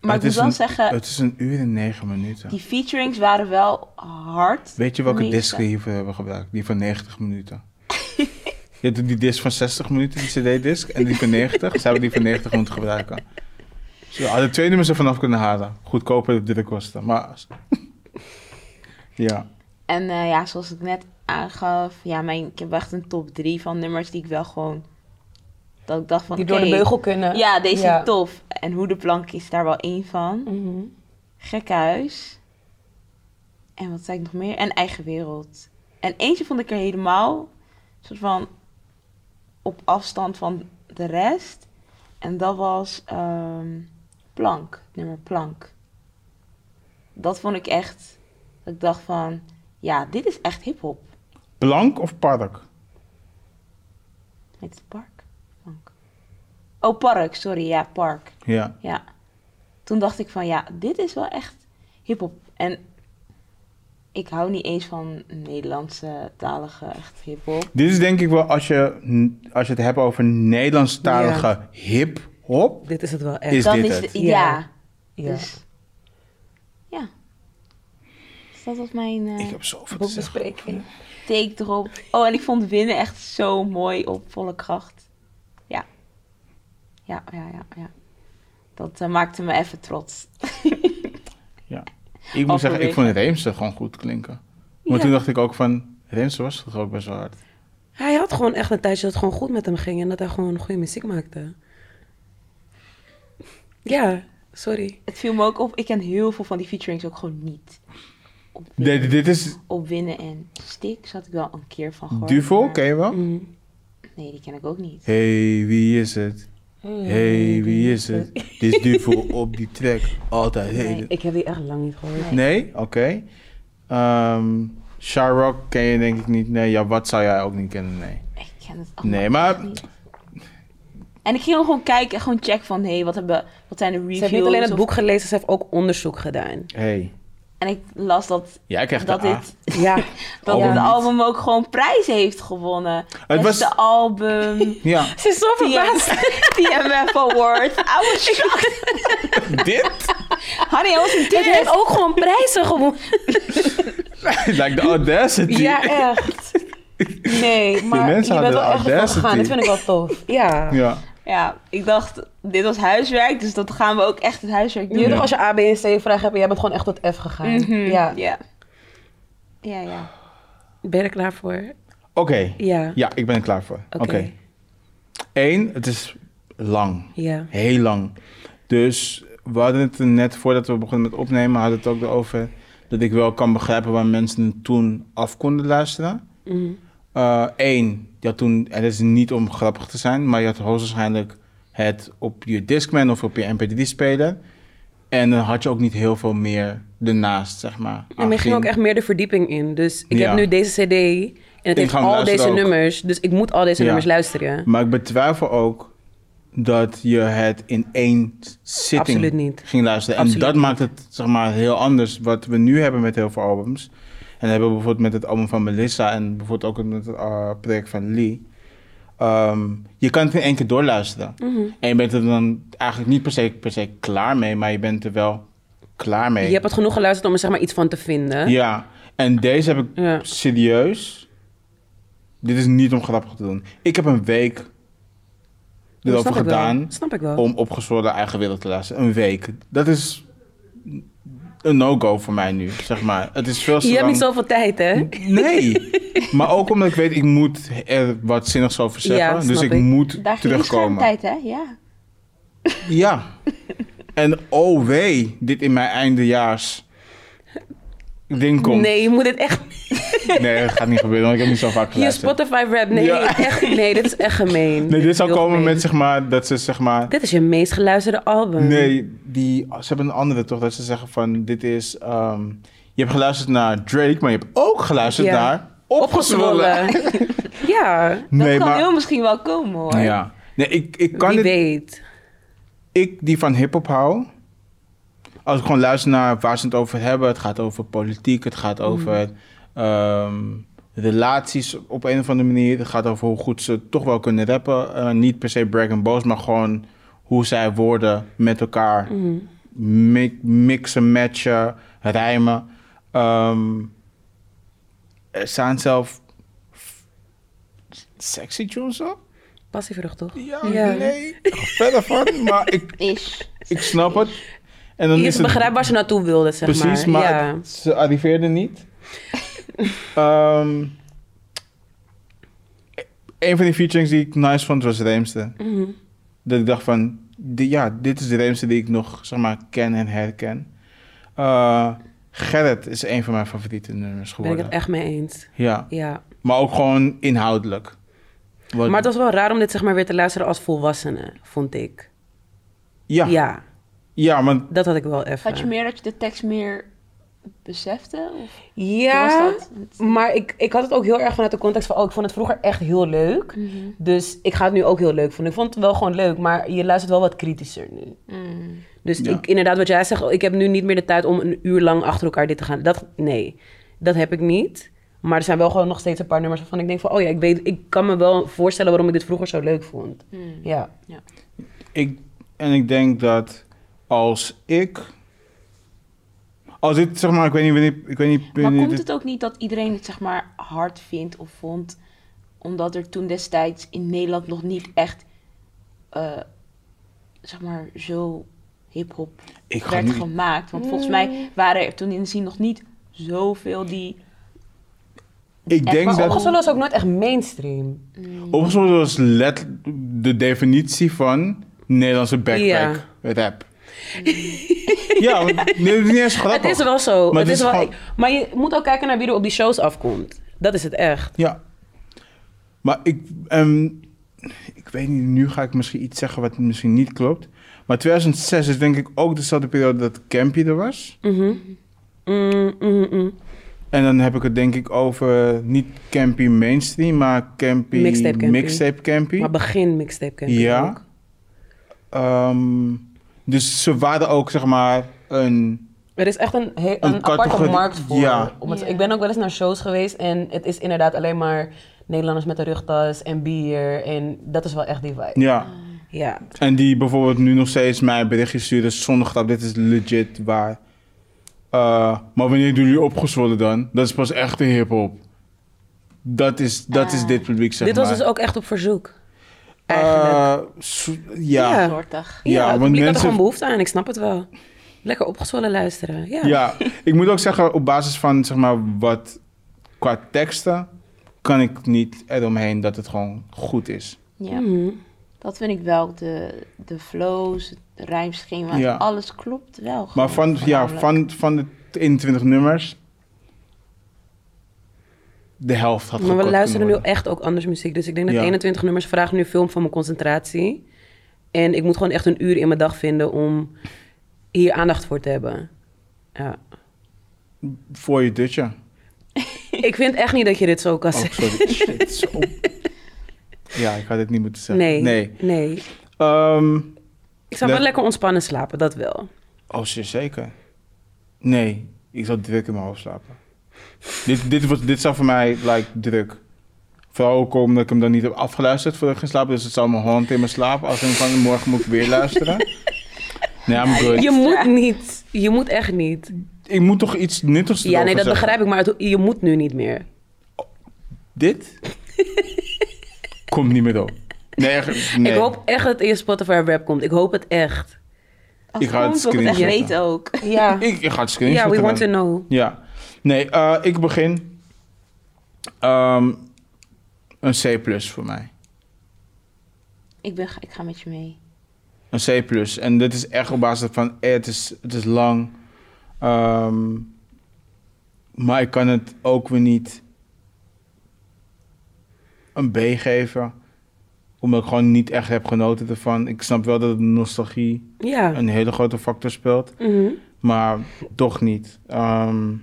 Speaker 1: Maar ik moet
Speaker 3: het is
Speaker 1: wel
Speaker 3: een-
Speaker 1: zeggen,
Speaker 3: Het is een uur en negen minuten.
Speaker 1: die featurings waren wel hard.
Speaker 3: Weet je welke
Speaker 1: Meeste.
Speaker 3: disc we hiervoor hebben gebruikt? Die van 90 minuten. je hebt die disc van 60 minuten, die CD-disc, en die van 90. Ze hebben die van 90 moeten gebruiken. Ze hadden twee nummers ervan af kunnen halen. Goedkoper op dit kosten. Maar. ja.
Speaker 1: En eh, ja, zoals ik net aangaf, ja, mijn, ik heb echt een top 3 van nummers die ik wel gewoon. Dat ik dacht van.
Speaker 4: Die door de
Speaker 1: oké,
Speaker 4: beugel kunnen.
Speaker 1: Ja, deze
Speaker 4: Ja.
Speaker 1: is tof. En Hoe de Plank is daar wel één van.
Speaker 4: Mhm.
Speaker 1: Gekhuis. En wat zei ik nog meer? En Eigen Wereld. En eentje vond ik er helemaal. soort van. op afstand van de rest. En dat was. ehm, plank. Nummer Plank. Dat vond ik echt. Dat ik dacht van. Ja, dit is echt hip-hop.
Speaker 3: Blank of park?
Speaker 1: Heet het park? Plank. Oh, park, sorry. Ja, park.
Speaker 3: Ja.
Speaker 1: Ja. Toen dacht ik van ja, dit is wel echt hip-hop. En ik hou niet eens van Nederlandse talige echt hip-hop.
Speaker 3: Dit is denk ik wel als je, als je het hebt over Nederlandstalige hip-hop.
Speaker 2: dit is het wel echt.
Speaker 3: Is
Speaker 1: Dan
Speaker 3: dit
Speaker 1: is
Speaker 3: het?
Speaker 1: de- ja.
Speaker 4: Ja.
Speaker 1: Dus ja. Dus dat was mijn eh,
Speaker 3: Ik heb zoveel te zeggen.
Speaker 4: Boekbespreking.
Speaker 1: take erop. Oh, en ik vond winnen echt zo mooi op volle kracht. Ja. Ja, ja, ja, ja. Dat eh, maakte me even trots.
Speaker 3: Ik moet zeggen, ik
Speaker 1: Overwegen.
Speaker 3: vond Reemse gewoon goed klinken. Maar
Speaker 1: Ja.
Speaker 3: toen dacht ik ook van, Reemse was toch ook best wel hard.
Speaker 2: Hij had gewoon echt een tijdje dat het gewoon goed met hem ging en dat hij gewoon goede muziek maakte. Ja, sorry.
Speaker 1: Het viel me ook op. Ik ken heel veel van die featurings ook gewoon niet. Op
Speaker 3: Nee, dit- dit is
Speaker 1: Op Winnen en Stik zat ik wel een keer van gehoord.
Speaker 3: Duvel,
Speaker 1: maar-
Speaker 3: ken je wel?
Speaker 1: Nee, die ken ik ook niet.
Speaker 3: Hey, wie is het? Hey, wie is het? Dit is Duvel op die track. Altijd
Speaker 1: Nee.
Speaker 3: hele...
Speaker 2: Ik heb die echt lang niet gehoord.
Speaker 3: Nee? Oké. Ehm Sharrock ken je denk ik niet. Nee, ja, wat zou jij ook niet kennen? Nee.
Speaker 1: Ik ken het allemaal
Speaker 3: Nee, maar...
Speaker 1: echt niet. En ik ging gewoon kijken en gewoon checken van... hé, hey, wat, hebben- wat zijn de reviews?
Speaker 2: Ze heeft niet alleen het
Speaker 1: of-
Speaker 2: boek gelezen, ze heeft ook onderzoek gedaan.
Speaker 3: Hey.
Speaker 1: En ik las dat,
Speaker 3: Jij krijgt
Speaker 1: dat,
Speaker 3: de A.
Speaker 1: dit,
Speaker 2: Ja,
Speaker 1: dat
Speaker 3: ah, Album
Speaker 1: het
Speaker 3: niet.
Speaker 1: album ook gewoon prijs heeft gewonnen. Het
Speaker 3: was-
Speaker 1: Beste album,
Speaker 3: Ja.
Speaker 2: ze is zo verbaasd.
Speaker 1: TMF Award. I was shocked.
Speaker 3: dit?
Speaker 1: Honey, I was in
Speaker 2: Dit heeft
Speaker 1: tears.
Speaker 2: ook gewoon prijzen gewonnen.
Speaker 3: like the audacity.
Speaker 2: Ja,
Speaker 4: Echt. Nee, maar
Speaker 3: mensen
Speaker 4: je bent
Speaker 3: hadden
Speaker 4: wel echt ervoor
Speaker 3: audacity.
Speaker 4: gegaan. Dit vind ik wel tof.
Speaker 2: Ja.
Speaker 3: Ja.
Speaker 1: Ja, ik dacht, dit was huiswerk, dus dat gaan we ook echt het huiswerk doen.
Speaker 4: Jullie
Speaker 3: Ja.
Speaker 4: nog als je A, B en C vragen hebt, jij bent gewoon echt tot F gegaan.
Speaker 2: Mhm.
Speaker 1: Ja.
Speaker 4: Ja.
Speaker 1: ja. Ja, ja.
Speaker 2: Ben je er klaar voor?
Speaker 3: Oké.
Speaker 2: Ja.
Speaker 3: Ja, ik ben er klaar voor. Oké.
Speaker 2: Oké.
Speaker 3: Eén, het is lang.
Speaker 2: Ja.
Speaker 3: Heel lang. Dus we hadden het er net voordat we begonnen met opnemen, hadden we het ook erover dat ik wel kan begrijpen waar mensen het toen af konden luisteren.
Speaker 2: Mhm.
Speaker 3: Eén, je had toen, en dat is niet om grappig te zijn, maar je had hoogstwaarschijnlijk het op je Discman of op je MP3-speler. En dan had je ook niet heel veel meer ernaast, zeg maar.
Speaker 2: En mij ging
Speaker 3: aangezien-
Speaker 2: ook echt meer de verdieping in. Dus ik
Speaker 3: Ja.
Speaker 2: heb nu deze cd en het heeft
Speaker 3: ga hem
Speaker 2: al
Speaker 3: luisteren
Speaker 2: deze
Speaker 3: ook.
Speaker 2: nummers. Dus ik moet al deze
Speaker 3: Ja.
Speaker 2: nummers luisteren.
Speaker 3: Maar ik betwijfel ook dat je het in één zitting
Speaker 2: Absoluut niet.
Speaker 3: ging luisteren.
Speaker 2: Absoluut
Speaker 3: en dat
Speaker 2: niet.
Speaker 3: maakt het zeg maar, heel anders wat we nu hebben met heel veel albums. En dat hebben we bijvoorbeeld met het album van Melissa en bijvoorbeeld ook met het eh, project van Lee. ehm, je kan het in één keer doorluisteren.
Speaker 2: Mhm.
Speaker 3: En je bent er dan eigenlijk niet per se, per se klaar mee, maar je bent er wel klaar mee.
Speaker 2: Je hebt het genoeg geluisterd om er zeg maar iets van te vinden.
Speaker 3: Ja, en deze heb ik
Speaker 2: Ja.
Speaker 3: serieus. Dit is niet om grappig te doen. Ik heb een week
Speaker 2: Dat
Speaker 3: erover
Speaker 2: snap ik wel.
Speaker 3: gedaan
Speaker 2: Snap ik wel.
Speaker 3: om opgezwollen eigen willen te luisteren. Een week. Dat is een no-go voor mij nu, zeg maar. Het is veel te
Speaker 2: Je hebt
Speaker 3: lang.
Speaker 2: niet zoveel tijd, hè?
Speaker 3: Nee. maar ook omdat ik weet, ik moet er wat zinnigs over zeggen.
Speaker 2: Ja,
Speaker 3: dus
Speaker 2: snap
Speaker 3: ik,
Speaker 2: ik.
Speaker 3: moet
Speaker 1: Daar ging die
Speaker 3: terugkomen.
Speaker 1: schermtijd, hè? Ja.
Speaker 3: Ja. En oh wee, dit in mijn eindejaars ding komt.
Speaker 2: Nee, je moet dit echt...
Speaker 3: Nee, dat gaat niet gebeuren, want ik heb niet zo vaak
Speaker 2: Je
Speaker 3: geluisterd.
Speaker 2: Spotify-rap, nee,
Speaker 3: Ja.
Speaker 2: echt, nee, dit is echt gemeen.
Speaker 3: Nee, dit zou
Speaker 2: Heel
Speaker 3: komen
Speaker 2: gemeen.
Speaker 3: met zeg maar dat ze zeg maar.
Speaker 2: Dit is je meest geluisterde album.
Speaker 3: Nee, die, ze hebben een andere toch? Dat ze zeggen van: dit is. ehm, je hebt geluisterd naar Drake, maar je hebt ook geluisterd
Speaker 2: Ja.
Speaker 3: naar. Opgezwollen.
Speaker 2: ja,
Speaker 1: Dat
Speaker 3: Nee,
Speaker 1: kan
Speaker 3: maar.
Speaker 1: heel misschien wel komen, hoor.
Speaker 3: Ja. Nee, ik, ik kan
Speaker 2: wie
Speaker 3: dit.
Speaker 2: weet.
Speaker 3: Ik die van hip-hop hou. Als ik gewoon luister naar waar ze het over hebben. Het gaat over politiek, het gaat over. ehm, relaties op een of andere manier. Het gaat over hoe goed ze toch wel kunnen rappen. Eh, niet per se brag en boos, maar gewoon hoe zij woorden met elkaar mi- mixen, matchen, rijmen. Ehm, er staan zelf f- sexy tunes op?
Speaker 2: Passievrucht, toch?
Speaker 3: Ja,
Speaker 2: Ja.
Speaker 3: nee. Verder van, maar ik,
Speaker 1: Is.
Speaker 3: ik snap het. En dan
Speaker 2: Je
Speaker 3: is
Speaker 2: is
Speaker 3: het
Speaker 2: begrijpt waar ze naartoe wilden, zeg
Speaker 3: precies, maar,
Speaker 2: ja.
Speaker 3: het- ze arriveerden niet. Ehm, een van die featurings die ik nice vond was Reemste.
Speaker 2: Mhm.
Speaker 3: Dat ik dacht van, di- ja, dit is de Reemste die ik nog, zeg maar, ken en herken. Eh Gerrit is een van mijn favoriete nummers
Speaker 2: Ben ik
Speaker 3: geworden.
Speaker 2: het echt mee eens.
Speaker 3: Ja,
Speaker 2: Ja.
Speaker 3: maar ook gewoon inhoudelijk. Wat-
Speaker 2: Maar het was wel raar om dit zeg maar weer te luisteren als volwassene, vond ik.
Speaker 3: ja, ja.
Speaker 2: Ja,
Speaker 3: want
Speaker 2: dat had ik wel even.
Speaker 1: Had je meer dat je de tekst meer besefte? Of
Speaker 2: Ja,
Speaker 1: hoe was dat?
Speaker 2: maar ik, ik had het ook heel erg vanuit de context van... oh, ik vond het vroeger echt heel leuk.
Speaker 1: Mhm.
Speaker 2: Dus ik ga het nu ook heel leuk vinden. Ik vond het wel gewoon leuk, maar je luistert wel wat kritischer nu.
Speaker 1: Mm.
Speaker 2: Dus
Speaker 3: Ja.
Speaker 2: ik, inderdaad, wat jij zegt, oh, ik heb nu niet meer de tijd om een uur lang achter elkaar dit te gaan. Dat, nee, dat heb ik niet. Maar er zijn wel gewoon nog steeds een paar nummers waarvan ik denk van... oh ja, ik, weet, ik kan me wel voorstellen waarom ik dit vroeger zo leuk vond.
Speaker 1: Mm.
Speaker 2: Ja.
Speaker 3: Ik, en ik denk dat als ik. Als dit zeg maar, ik weet niet wanneer. Ik weet niet,
Speaker 1: Maar
Speaker 3: wanneer
Speaker 1: komt
Speaker 3: dit-
Speaker 1: het ook niet dat iedereen het zeg maar hard vindt of vond, omdat er toen destijds in Nederland nog niet echt, eh, zeg maar, zo hip-hop
Speaker 3: ik ga
Speaker 1: werd
Speaker 3: niet,
Speaker 1: gemaakt? Want volgens mij waren er toen in de zin nog niet zoveel die.
Speaker 3: ik
Speaker 2: Eh,
Speaker 1: echt
Speaker 3: denk
Speaker 1: maar
Speaker 3: dat.
Speaker 2: Opgezwollen is ook nooit echt mainstream.
Speaker 3: Opgesloten was let, de definitie van Nederlandse backpack rap. ja, want, nee, het is niet eens grappig.
Speaker 2: Het is wel zo.
Speaker 3: Maar
Speaker 2: Maar,
Speaker 3: het
Speaker 2: het is
Speaker 3: is
Speaker 2: wel,
Speaker 3: gewoon-
Speaker 2: maar je moet ook kijken naar wie er op die shows afkomt. Dat is het echt.
Speaker 3: Ja. Maar ik, ehm, ik weet niet, nu ga ik misschien iets zeggen wat misschien niet klopt. Maar 2006 is denk ik ook dezelfde periode dat Campy er was.
Speaker 2: Mhm. Mm, mm, mm.
Speaker 3: En dan heb ik het denk ik over niet campy mainstream, maar campy
Speaker 2: Mixtape campy.
Speaker 3: mixtape campy.
Speaker 2: Maar begin mixtape camping
Speaker 3: Ja.
Speaker 2: ook.
Speaker 3: Ehm, dus ze waren ook zeg maar een.
Speaker 2: Er is echt een, he- een, aparte
Speaker 3: categorie-
Speaker 2: markt voor.
Speaker 3: ja.
Speaker 2: Om het-
Speaker 1: Ja.
Speaker 2: Ik ben ook wel eens naar shows geweest en het is inderdaad alleen maar Nederlanders met een rugtas en bier. En dat is wel echt die vibe.
Speaker 3: Ja.
Speaker 2: Ja.
Speaker 3: En die bijvoorbeeld nu nog steeds mij berichtjes sturen zonder grap, dit is legit waar. Eh, maar wanneer doen jullie opgezwollen dan? Dat is pas echt een hip-hop. Dat is, dat is
Speaker 1: Ah.
Speaker 3: dit publiek, zeg
Speaker 2: Dit
Speaker 3: maar.
Speaker 2: was dus ook echt op verzoek.
Speaker 3: Eh,
Speaker 2: Eigenlijk.
Speaker 3: so- ja.
Speaker 2: Ja.
Speaker 1: Soortig.
Speaker 3: ja,
Speaker 2: ja,
Speaker 3: want
Speaker 2: want mensen... had
Speaker 3: mensen-
Speaker 2: er gewoon behoefte aan, ik snap het wel. Lekker opgezwollen luisteren. Ja.
Speaker 3: Ja, ik moet ook zeggen, op basis van zeg maar wat qua teksten kan ik niet eromheen dat het gewoon goed is.
Speaker 1: Ja.
Speaker 2: Mhm.
Speaker 1: Dat vind ik wel. De, de flows, het rijmschema,
Speaker 3: Ja.
Speaker 1: alles klopt wel. gewoon
Speaker 3: Maar van, ja,
Speaker 1: voornamelijk.
Speaker 3: van, van de 21 nummers, de helft had
Speaker 2: Maar we
Speaker 3: gekort
Speaker 2: luisteren nu
Speaker 3: kunnen worden.
Speaker 2: echt ook anders muziek. Dus ik denk dat
Speaker 3: Ja.
Speaker 2: 21 nummers vragen nu film van mijn concentratie. En ik moet gewoon echt een uur in mijn dag vinden om hier aandacht voor te hebben. Ja.
Speaker 3: Voor je dutje.
Speaker 2: Ik vind echt niet dat je dit zo kan
Speaker 3: Oh,
Speaker 2: zeggen.
Speaker 3: sorry. Shit, zo. Ja, ik had dit niet moeten zeggen.
Speaker 2: Nee, nee.
Speaker 3: Ehm,
Speaker 2: Ik zou
Speaker 3: Nee.
Speaker 2: wel lekker ontspannen slapen, dat wel.
Speaker 3: oh, zeer zeker. Nee, ik zat druk in mijn hoofd slapen. dit, dit, was, dit zou voor mij like, druk. Vooral ook omdat ik hem dan niet heb afgeluisterd voordat ik ging slapen. Dus het zal me hond in mijn slaap. Als ik van morgen moet ik weer luisteren. Nee, I'm good.
Speaker 2: Je moet niet. Je moet echt niet.
Speaker 3: Ik moet toch iets nuttigs
Speaker 2: Ja, nee,
Speaker 3: erover
Speaker 2: dat
Speaker 3: zeggen.
Speaker 2: begrijp ik, maar het- je moet nu niet meer.
Speaker 3: Dit komt niet meer op. Nee, echt, nee.
Speaker 2: Ik hoop echt dat het in je Spotify rap komt. Ik hoop het echt.
Speaker 1: Als
Speaker 3: Ik ga het
Speaker 1: komt, wil ik het echt
Speaker 3: screenshotten.
Speaker 1: weten ook.
Speaker 2: Ja.
Speaker 3: Ik, ik ga het
Speaker 2: Ja,
Speaker 3: screenshotten.
Speaker 2: we want to
Speaker 3: dan.
Speaker 2: know.
Speaker 3: Ja. Nee, eh, ik begin. Ehm, een C plus voor mij.
Speaker 1: Ik, ben, ik ga met je mee.
Speaker 3: Een C plus. En dit is echt op basis van, eh, het, is, het is lang. Ehm, maar ik kan het ook weer niet een B geven. Omdat ik gewoon niet echt heb genoten ervan. Ik snap wel dat nostalgie
Speaker 2: Ja.
Speaker 3: een hele grote factor speelt.
Speaker 2: Mhm.
Speaker 3: Maar toch niet. Ehm,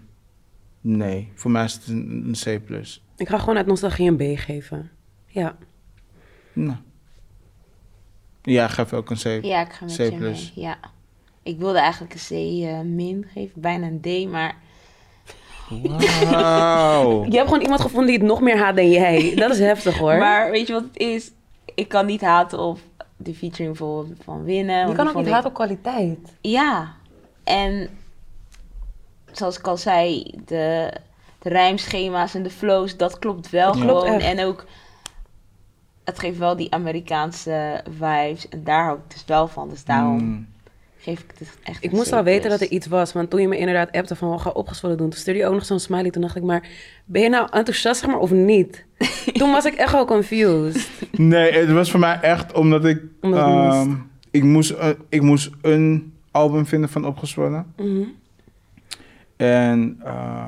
Speaker 3: nee, voor mij is het een, een C+. plus.
Speaker 2: Ik ga gewoon uit nostalgie een B geven. Ja.
Speaker 3: Nou. Ja, geef ook een C.
Speaker 1: Ja, ik ga met
Speaker 3: C
Speaker 1: je mee.
Speaker 3: plus.
Speaker 1: Ja. Ik wilde eigenlijk een C eh, min geven, bijna een D, maar
Speaker 3: Wauw.
Speaker 2: Je hebt gewoon iemand gevonden die het nog meer haat dan jij. Dat is heftig hoor.
Speaker 1: Maar weet je wat het is? Ik kan niet haten op de featuring bijvoorbeeld van winnen. want
Speaker 4: Je
Speaker 1: die
Speaker 4: kan ook
Speaker 1: vond
Speaker 4: niet
Speaker 1: ik-
Speaker 4: haten op kwaliteit.
Speaker 1: Ja. En zoals ik al zei, de, de rijmschema's en de flows, dat klopt wel
Speaker 3: Ja.
Speaker 1: gewoon.
Speaker 2: Klopt echt.
Speaker 1: en ook, het geeft wel die Amerikaanse vibes. En daar hou ik dus wel van. Dus daarom
Speaker 3: Mm.
Speaker 1: geef ik het echt
Speaker 2: Ik
Speaker 1: een
Speaker 2: moest
Speaker 1: C+.
Speaker 2: al weten dat er iets was, want toen je me inderdaad appte van we gaan opgezwollen doen, toen stuurde je ook nog zo'n smiley. Toen dacht ik maar, ben je nou enthousiast zeg maar of niet? toen was ik echt wel confused.
Speaker 3: Nee, het was voor mij echt omdat ik...
Speaker 2: Omdat het
Speaker 3: ehm, ik, moest, een- ik moest een album vinden van Opgezwollen.
Speaker 2: Mhm.
Speaker 3: En, eh,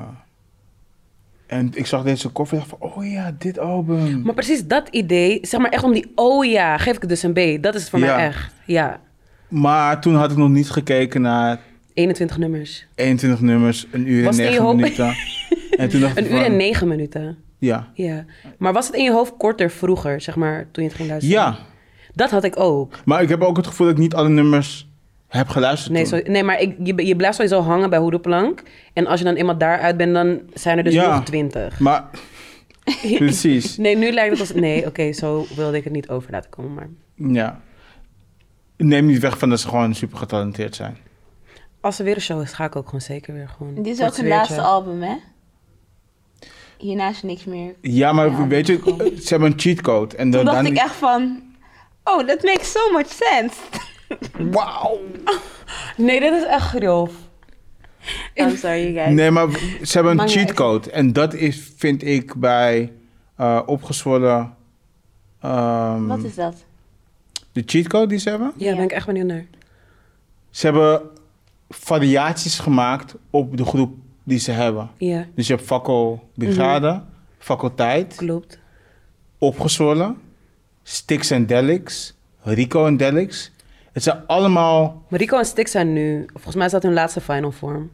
Speaker 3: en ik zag deze koffer en dacht van... Oh ja, dit album.
Speaker 2: Maar precies dat idee, zeg maar echt om die oh ja, geef ik het dus een B. Dat is het voor
Speaker 3: Ja.
Speaker 2: mij echt. Ja,
Speaker 3: Maar toen had ik nog niet gekeken naar
Speaker 2: 21 nummers.
Speaker 3: 21 nummers, een uur en
Speaker 2: Was die
Speaker 3: negen
Speaker 2: hoop-
Speaker 3: minuten. En toen dacht ik
Speaker 2: Een uur en
Speaker 3: van,
Speaker 2: negen minuten.
Speaker 3: Ja.
Speaker 2: Ja. Maar was het in je hoofd korter vroeger, zeg maar, toen je het ging luisteren?
Speaker 3: Ja,
Speaker 2: Dat had ik ook.
Speaker 3: maar ik heb ook het gevoel dat ik niet alle nummers heb geluisterd
Speaker 2: Nee,
Speaker 3: toen.
Speaker 2: zo- nee maar ik, je, je blijft sowieso hangen bij Hoedenplank. En als je dan eenmaal daaruit bent, dan zijn er dus
Speaker 3: Ja.
Speaker 2: nog 20.
Speaker 3: Maar, precies.
Speaker 2: Nee, nu lijkt het als... Nee, oké, zo wilde ik het niet over laten komen, maar...
Speaker 3: Ja. Neem niet weg van dat ze gewoon super getalenteerd zijn.
Speaker 2: Als er weer een show is, ga ik ook gewoon zeker weer gewoon...
Speaker 1: Dit is
Speaker 2: voor
Speaker 1: ook
Speaker 2: het
Speaker 1: hun
Speaker 2: sfeertje.
Speaker 1: laatste album, hè? Hierna is niks meer.
Speaker 3: Ja, maar
Speaker 1: Ja.
Speaker 3: weet je, ze hebben een cheatcode. En dan,
Speaker 1: Toen dacht
Speaker 3: dan-
Speaker 1: ik echt van... Oh, that makes so much sense.
Speaker 3: Wauw.
Speaker 2: Nee, dit is echt grof.
Speaker 1: I'm sorry, guys.
Speaker 3: Nee, maar ze hebben een
Speaker 2: Maakt niet uit.
Speaker 3: cheatcode. En dat is, vind ik, bij eh opgezwollen... ehm,
Speaker 1: Wat is dat?
Speaker 3: De cheatcode die ze hebben?
Speaker 2: Ja,
Speaker 1: Ja.
Speaker 2: ben ik echt benieuwd naar.
Speaker 3: Ze hebben variaties gemaakt op de groep die ze hebben.
Speaker 2: Ja,
Speaker 3: Dus je hebt fakkelbrigade,
Speaker 1: Mhm.
Speaker 3: faculteit,
Speaker 2: klopt.
Speaker 3: opgezwollen, Stix en Delix, Rico en Delix. Het zijn allemaal,
Speaker 2: Maar Rico en Stix zijn nu... Volgens mij is dat hun laatste final vorm.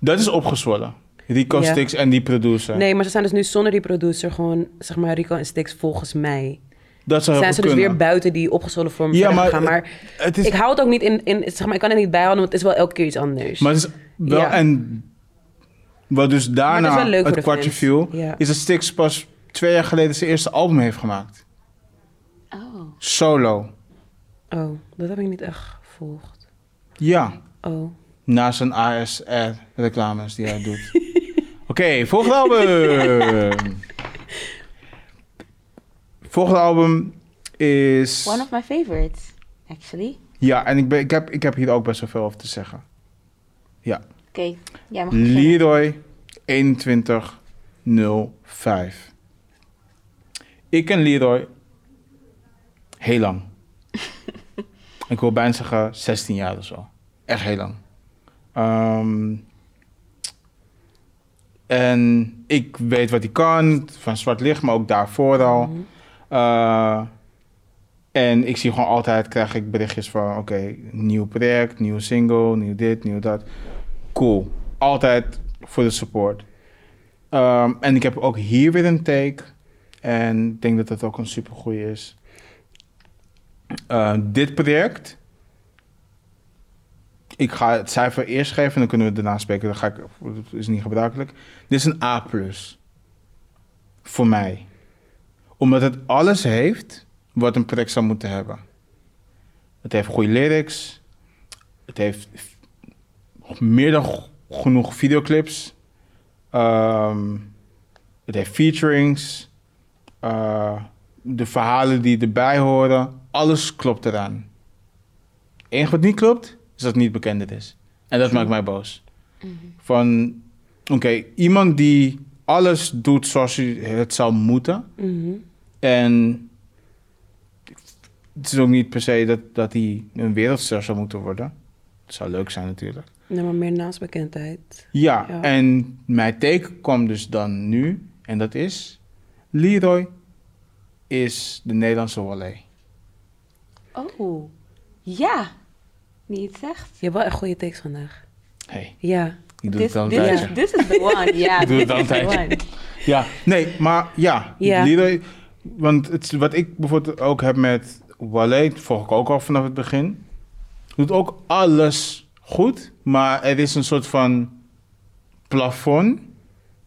Speaker 3: dat is opgezwollen. Rico,
Speaker 2: Ja.
Speaker 3: Stix en die producer.
Speaker 2: Nee, maar ze zijn dus nu zonder die producer gewoon, zeg maar, Rico en Stix volgens mij.
Speaker 3: dat zou heel
Speaker 2: zijn ze
Speaker 3: goed
Speaker 2: dus weer
Speaker 3: kunnen.
Speaker 2: buiten die opgezwollen vorm
Speaker 3: Ja,
Speaker 2: ja,
Speaker 3: maar,
Speaker 2: gegaan. Maar
Speaker 3: het is,
Speaker 2: ik hou het ook niet in, in, zeg maar, ik kan het niet bijhouden, want het is wel elke keer iets anders.
Speaker 3: maar het is wel,
Speaker 2: Ja.
Speaker 3: en wat dus daarna
Speaker 2: wel leuk voor
Speaker 3: het
Speaker 2: de
Speaker 3: kwartje
Speaker 2: fans.
Speaker 3: viel,
Speaker 2: Ja.
Speaker 3: is dat Stix pas twee jaar geleden zijn eerste album heeft gemaakt.
Speaker 1: Oh.
Speaker 3: Solo.
Speaker 2: Oh, dat heb ik niet echt gevolgd.
Speaker 3: Ja.
Speaker 2: Oh.
Speaker 3: Na zijn ASR-reclames die hij doet. Oké, volgende album. volgende album is...
Speaker 1: One of my favorites, actually.
Speaker 3: Ja, en ik, ben, ik, heb, ik heb hier ook best wel veel over te zeggen.
Speaker 1: Oké, jij mag beginnen.
Speaker 3: Leroy 2105. Ik ken Leroy heel lang. ik wil bijna zeggen 16 jaar of zo. Echt heel lang. Ehm, en ik weet wat hij kan, van zwart licht, maar ook daarvoor al.
Speaker 2: Mhm.
Speaker 3: Eh, en ik zie gewoon altijd, krijg ik berichtjes van, oké, nieuw project, nieuw single, nieuw dit, nieuw dat. Cool. Altijd voor de support. Ehm, en ik heb ook hier weer een take. En ik denk dat dat ook een supergoeie is. Eh, dit project. Ik ga het cijfer eerst geven en dan kunnen we daarna spreken. Dat, ga ik, dat is niet gebruikelijk. Dit is een A+. Voor mij. Omdat het alles heeft wat een project zou moeten hebben. Het heeft goede lyrics. Het heeft f- meer dan g- genoeg videoclips. Ehm, het heeft featurings. Eh, de verhalen die erbij horen. Alles klopt eraan. Het enige wat niet klopt, is dat het niet bekend is. En dat maakt mij boos. Van, oké, iemand die alles doet zoals hij het zou moeten...
Speaker 2: Mhm.
Speaker 3: En het is ook niet per se dat, dat hij een wereldster zou moeten worden. Het zou leuk zijn natuurlijk.
Speaker 2: Nee, maar meer naastbekendheid.
Speaker 3: Ja,
Speaker 2: Ja.
Speaker 3: en mijn teken kwam dus dan nu. En dat is... Leroy is de Nederlandse Wally.
Speaker 1: Oh, ja. Niet het zegt.
Speaker 2: Je hebt wel echt goede takes vandaag.
Speaker 3: Hey,
Speaker 2: Ja.
Speaker 3: ik doe
Speaker 1: This,
Speaker 3: het al een
Speaker 1: this
Speaker 3: tijdje.
Speaker 1: is, this is the one. Ja,
Speaker 3: Ik doe
Speaker 1: this
Speaker 3: het al
Speaker 1: is
Speaker 3: een
Speaker 1: the
Speaker 3: tijdje.
Speaker 1: one.
Speaker 3: Ja, nee, maar ja.
Speaker 2: Ja.
Speaker 3: Leroy- want het, is- wat ik bijvoorbeeld ook heb met Wale, dat volg ik ook al vanaf het begin. Doet ook alles goed, maar er is een soort van plafond.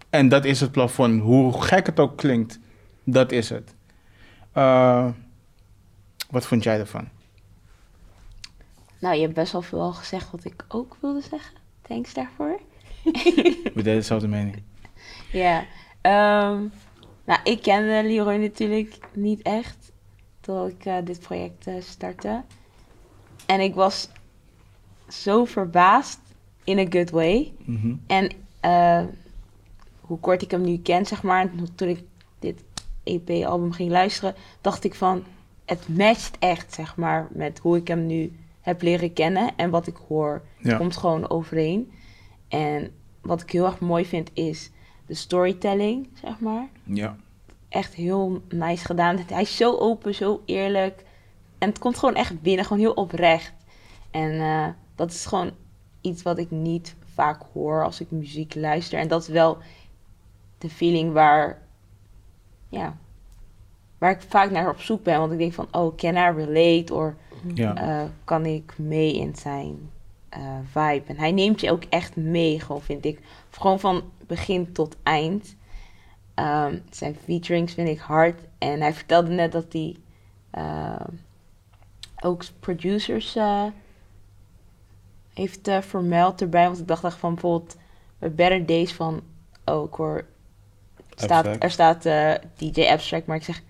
Speaker 3: En dat is het plafond. Hoe gek het ook klinkt, dat is het. Eh, wat vond jij ervan?
Speaker 1: Nou, je hebt best wel veel al gezegd wat ik ook wilde zeggen. Thanks daarvoor.
Speaker 3: We delen dezelfde mening.
Speaker 1: Ja. ehm, nou, ik kende Leroy natuurlijk niet echt. Tot ik eh, dit project eh, startte. En ik was zo verbaasd. In a good way.
Speaker 3: Mhm.
Speaker 1: En eh, hoe kort ik hem nu ken, zeg maar, en toen ik dit EP-album ging luisteren, dacht ik van, het matcht echt, zeg maar, met hoe ik hem nu heb leren kennen en wat ik hoor,
Speaker 3: Ja.
Speaker 1: komt gewoon overeen. En wat ik heel erg mooi vind is de storytelling, zeg maar.
Speaker 3: Ja.
Speaker 1: Echt heel nice gedaan. Hij is zo open, zo eerlijk. En het komt gewoon echt binnen, gewoon heel oprecht. En eh, dat is gewoon iets wat ik niet vaak hoor als ik muziek luister. En dat is wel de feeling waar, ja, waar ik vaak naar op zoek ben. Want ik denk van, oh, can I relate? Of
Speaker 3: ja.
Speaker 1: eh, kan ik mee in zijn eh, vibe? En hij neemt je ook echt mee, gewoon vind ik. Gewoon van begin tot eind. Ehm, zijn featurings vind ik hard. En hij vertelde net dat hij ehm, ook producers eh, heeft eh, vermeld erbij. Want ik dacht echt van bijvoorbeeld bij Better Days van... Oh, ik hoor... het Staat,
Speaker 3: Abstract.
Speaker 1: er staat eh, DJ Abstract, maar ik zeg...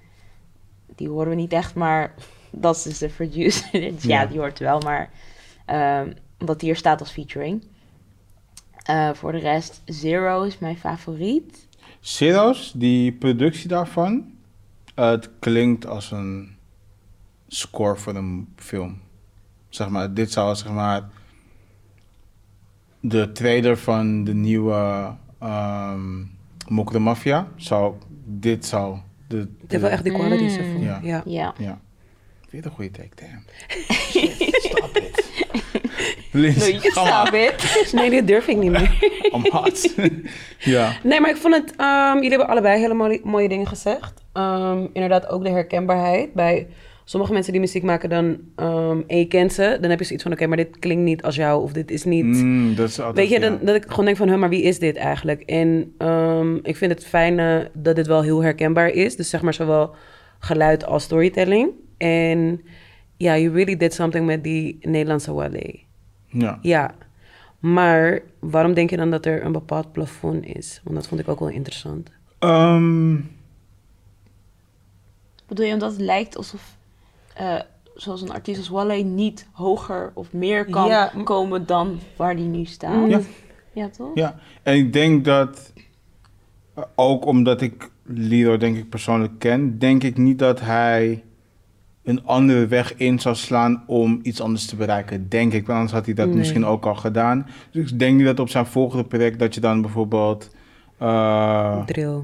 Speaker 1: Die horen we niet echt, maar dat is dus de producer. Dus ja,
Speaker 3: Ja.
Speaker 1: die hoort wel, maar... ehm omdat die hier staat als featuring. Eh, voor de rest, Zero is mijn favoriet.
Speaker 3: Zero's, die productie daarvan, eh, het klinkt als een score voor een film. Zeg maar, dit zou zeg maar de trailer van de nieuwe ehm Mokro Mafia zou dit zou de,
Speaker 2: Het heeft wel echt die qualities
Speaker 1: Mm.
Speaker 2: ervoor.
Speaker 3: Ja.
Speaker 2: Ja.
Speaker 1: Ja.
Speaker 3: ja weer een goede take damn stop it
Speaker 1: No,
Speaker 3: Lindsay,
Speaker 1: you
Speaker 3: come
Speaker 1: stop
Speaker 3: on.
Speaker 1: it.
Speaker 2: Nee, dit durf ik niet meer.
Speaker 3: I'm hot ja
Speaker 2: Nee, maar ik vond het... ehm, jullie hebben allebei hele mooie, mooie dingen gezegd.
Speaker 4: Ehm,
Speaker 2: Inderdaad, ook de herkenbaarheid. Bij sommige mensen die muziek maken, dan... ehm en je kent ze, dan heb je zoiets van... Oké, maar dit klinkt niet als jou. Of dit is niet...
Speaker 3: Mm, dat is altijd
Speaker 2: Weet je,
Speaker 3: ja.
Speaker 2: dan, dat ik gewoon denk van, huh, maar wie is dit eigenlijk? En ehm, ik vind het fijn eh, dat dit wel heel herkenbaar is. Dus zeg maar zowel geluid als storytelling. En ja, you really did something met die Nederlandse Wale.
Speaker 3: ja
Speaker 2: Ja, maar waarom denk je dan dat er een bepaald plafond is? Want dat vond ik ook wel interessant.
Speaker 3: Ehm,
Speaker 1: Bedoel je omdat het lijkt alsof, eh, zoals een artiest als Wally, niet hoger of meer kan
Speaker 4: Ja.
Speaker 1: komen dan waar die nu
Speaker 2: Mm.
Speaker 1: staat?
Speaker 3: Ja.
Speaker 1: Ja, toch?
Speaker 3: Ja, en ik denk dat eh, ook omdat ik Lido denk ik persoonlijk ken, denk ik niet dat hij een andere weg in zou slaan om iets anders te bereiken, denk ik. Want anders had hij dat
Speaker 2: Nee.
Speaker 3: misschien ook al gedaan. Dus ik denk niet dat op zijn volgende project dat je dan bijvoorbeeld... eh,
Speaker 2: Drill.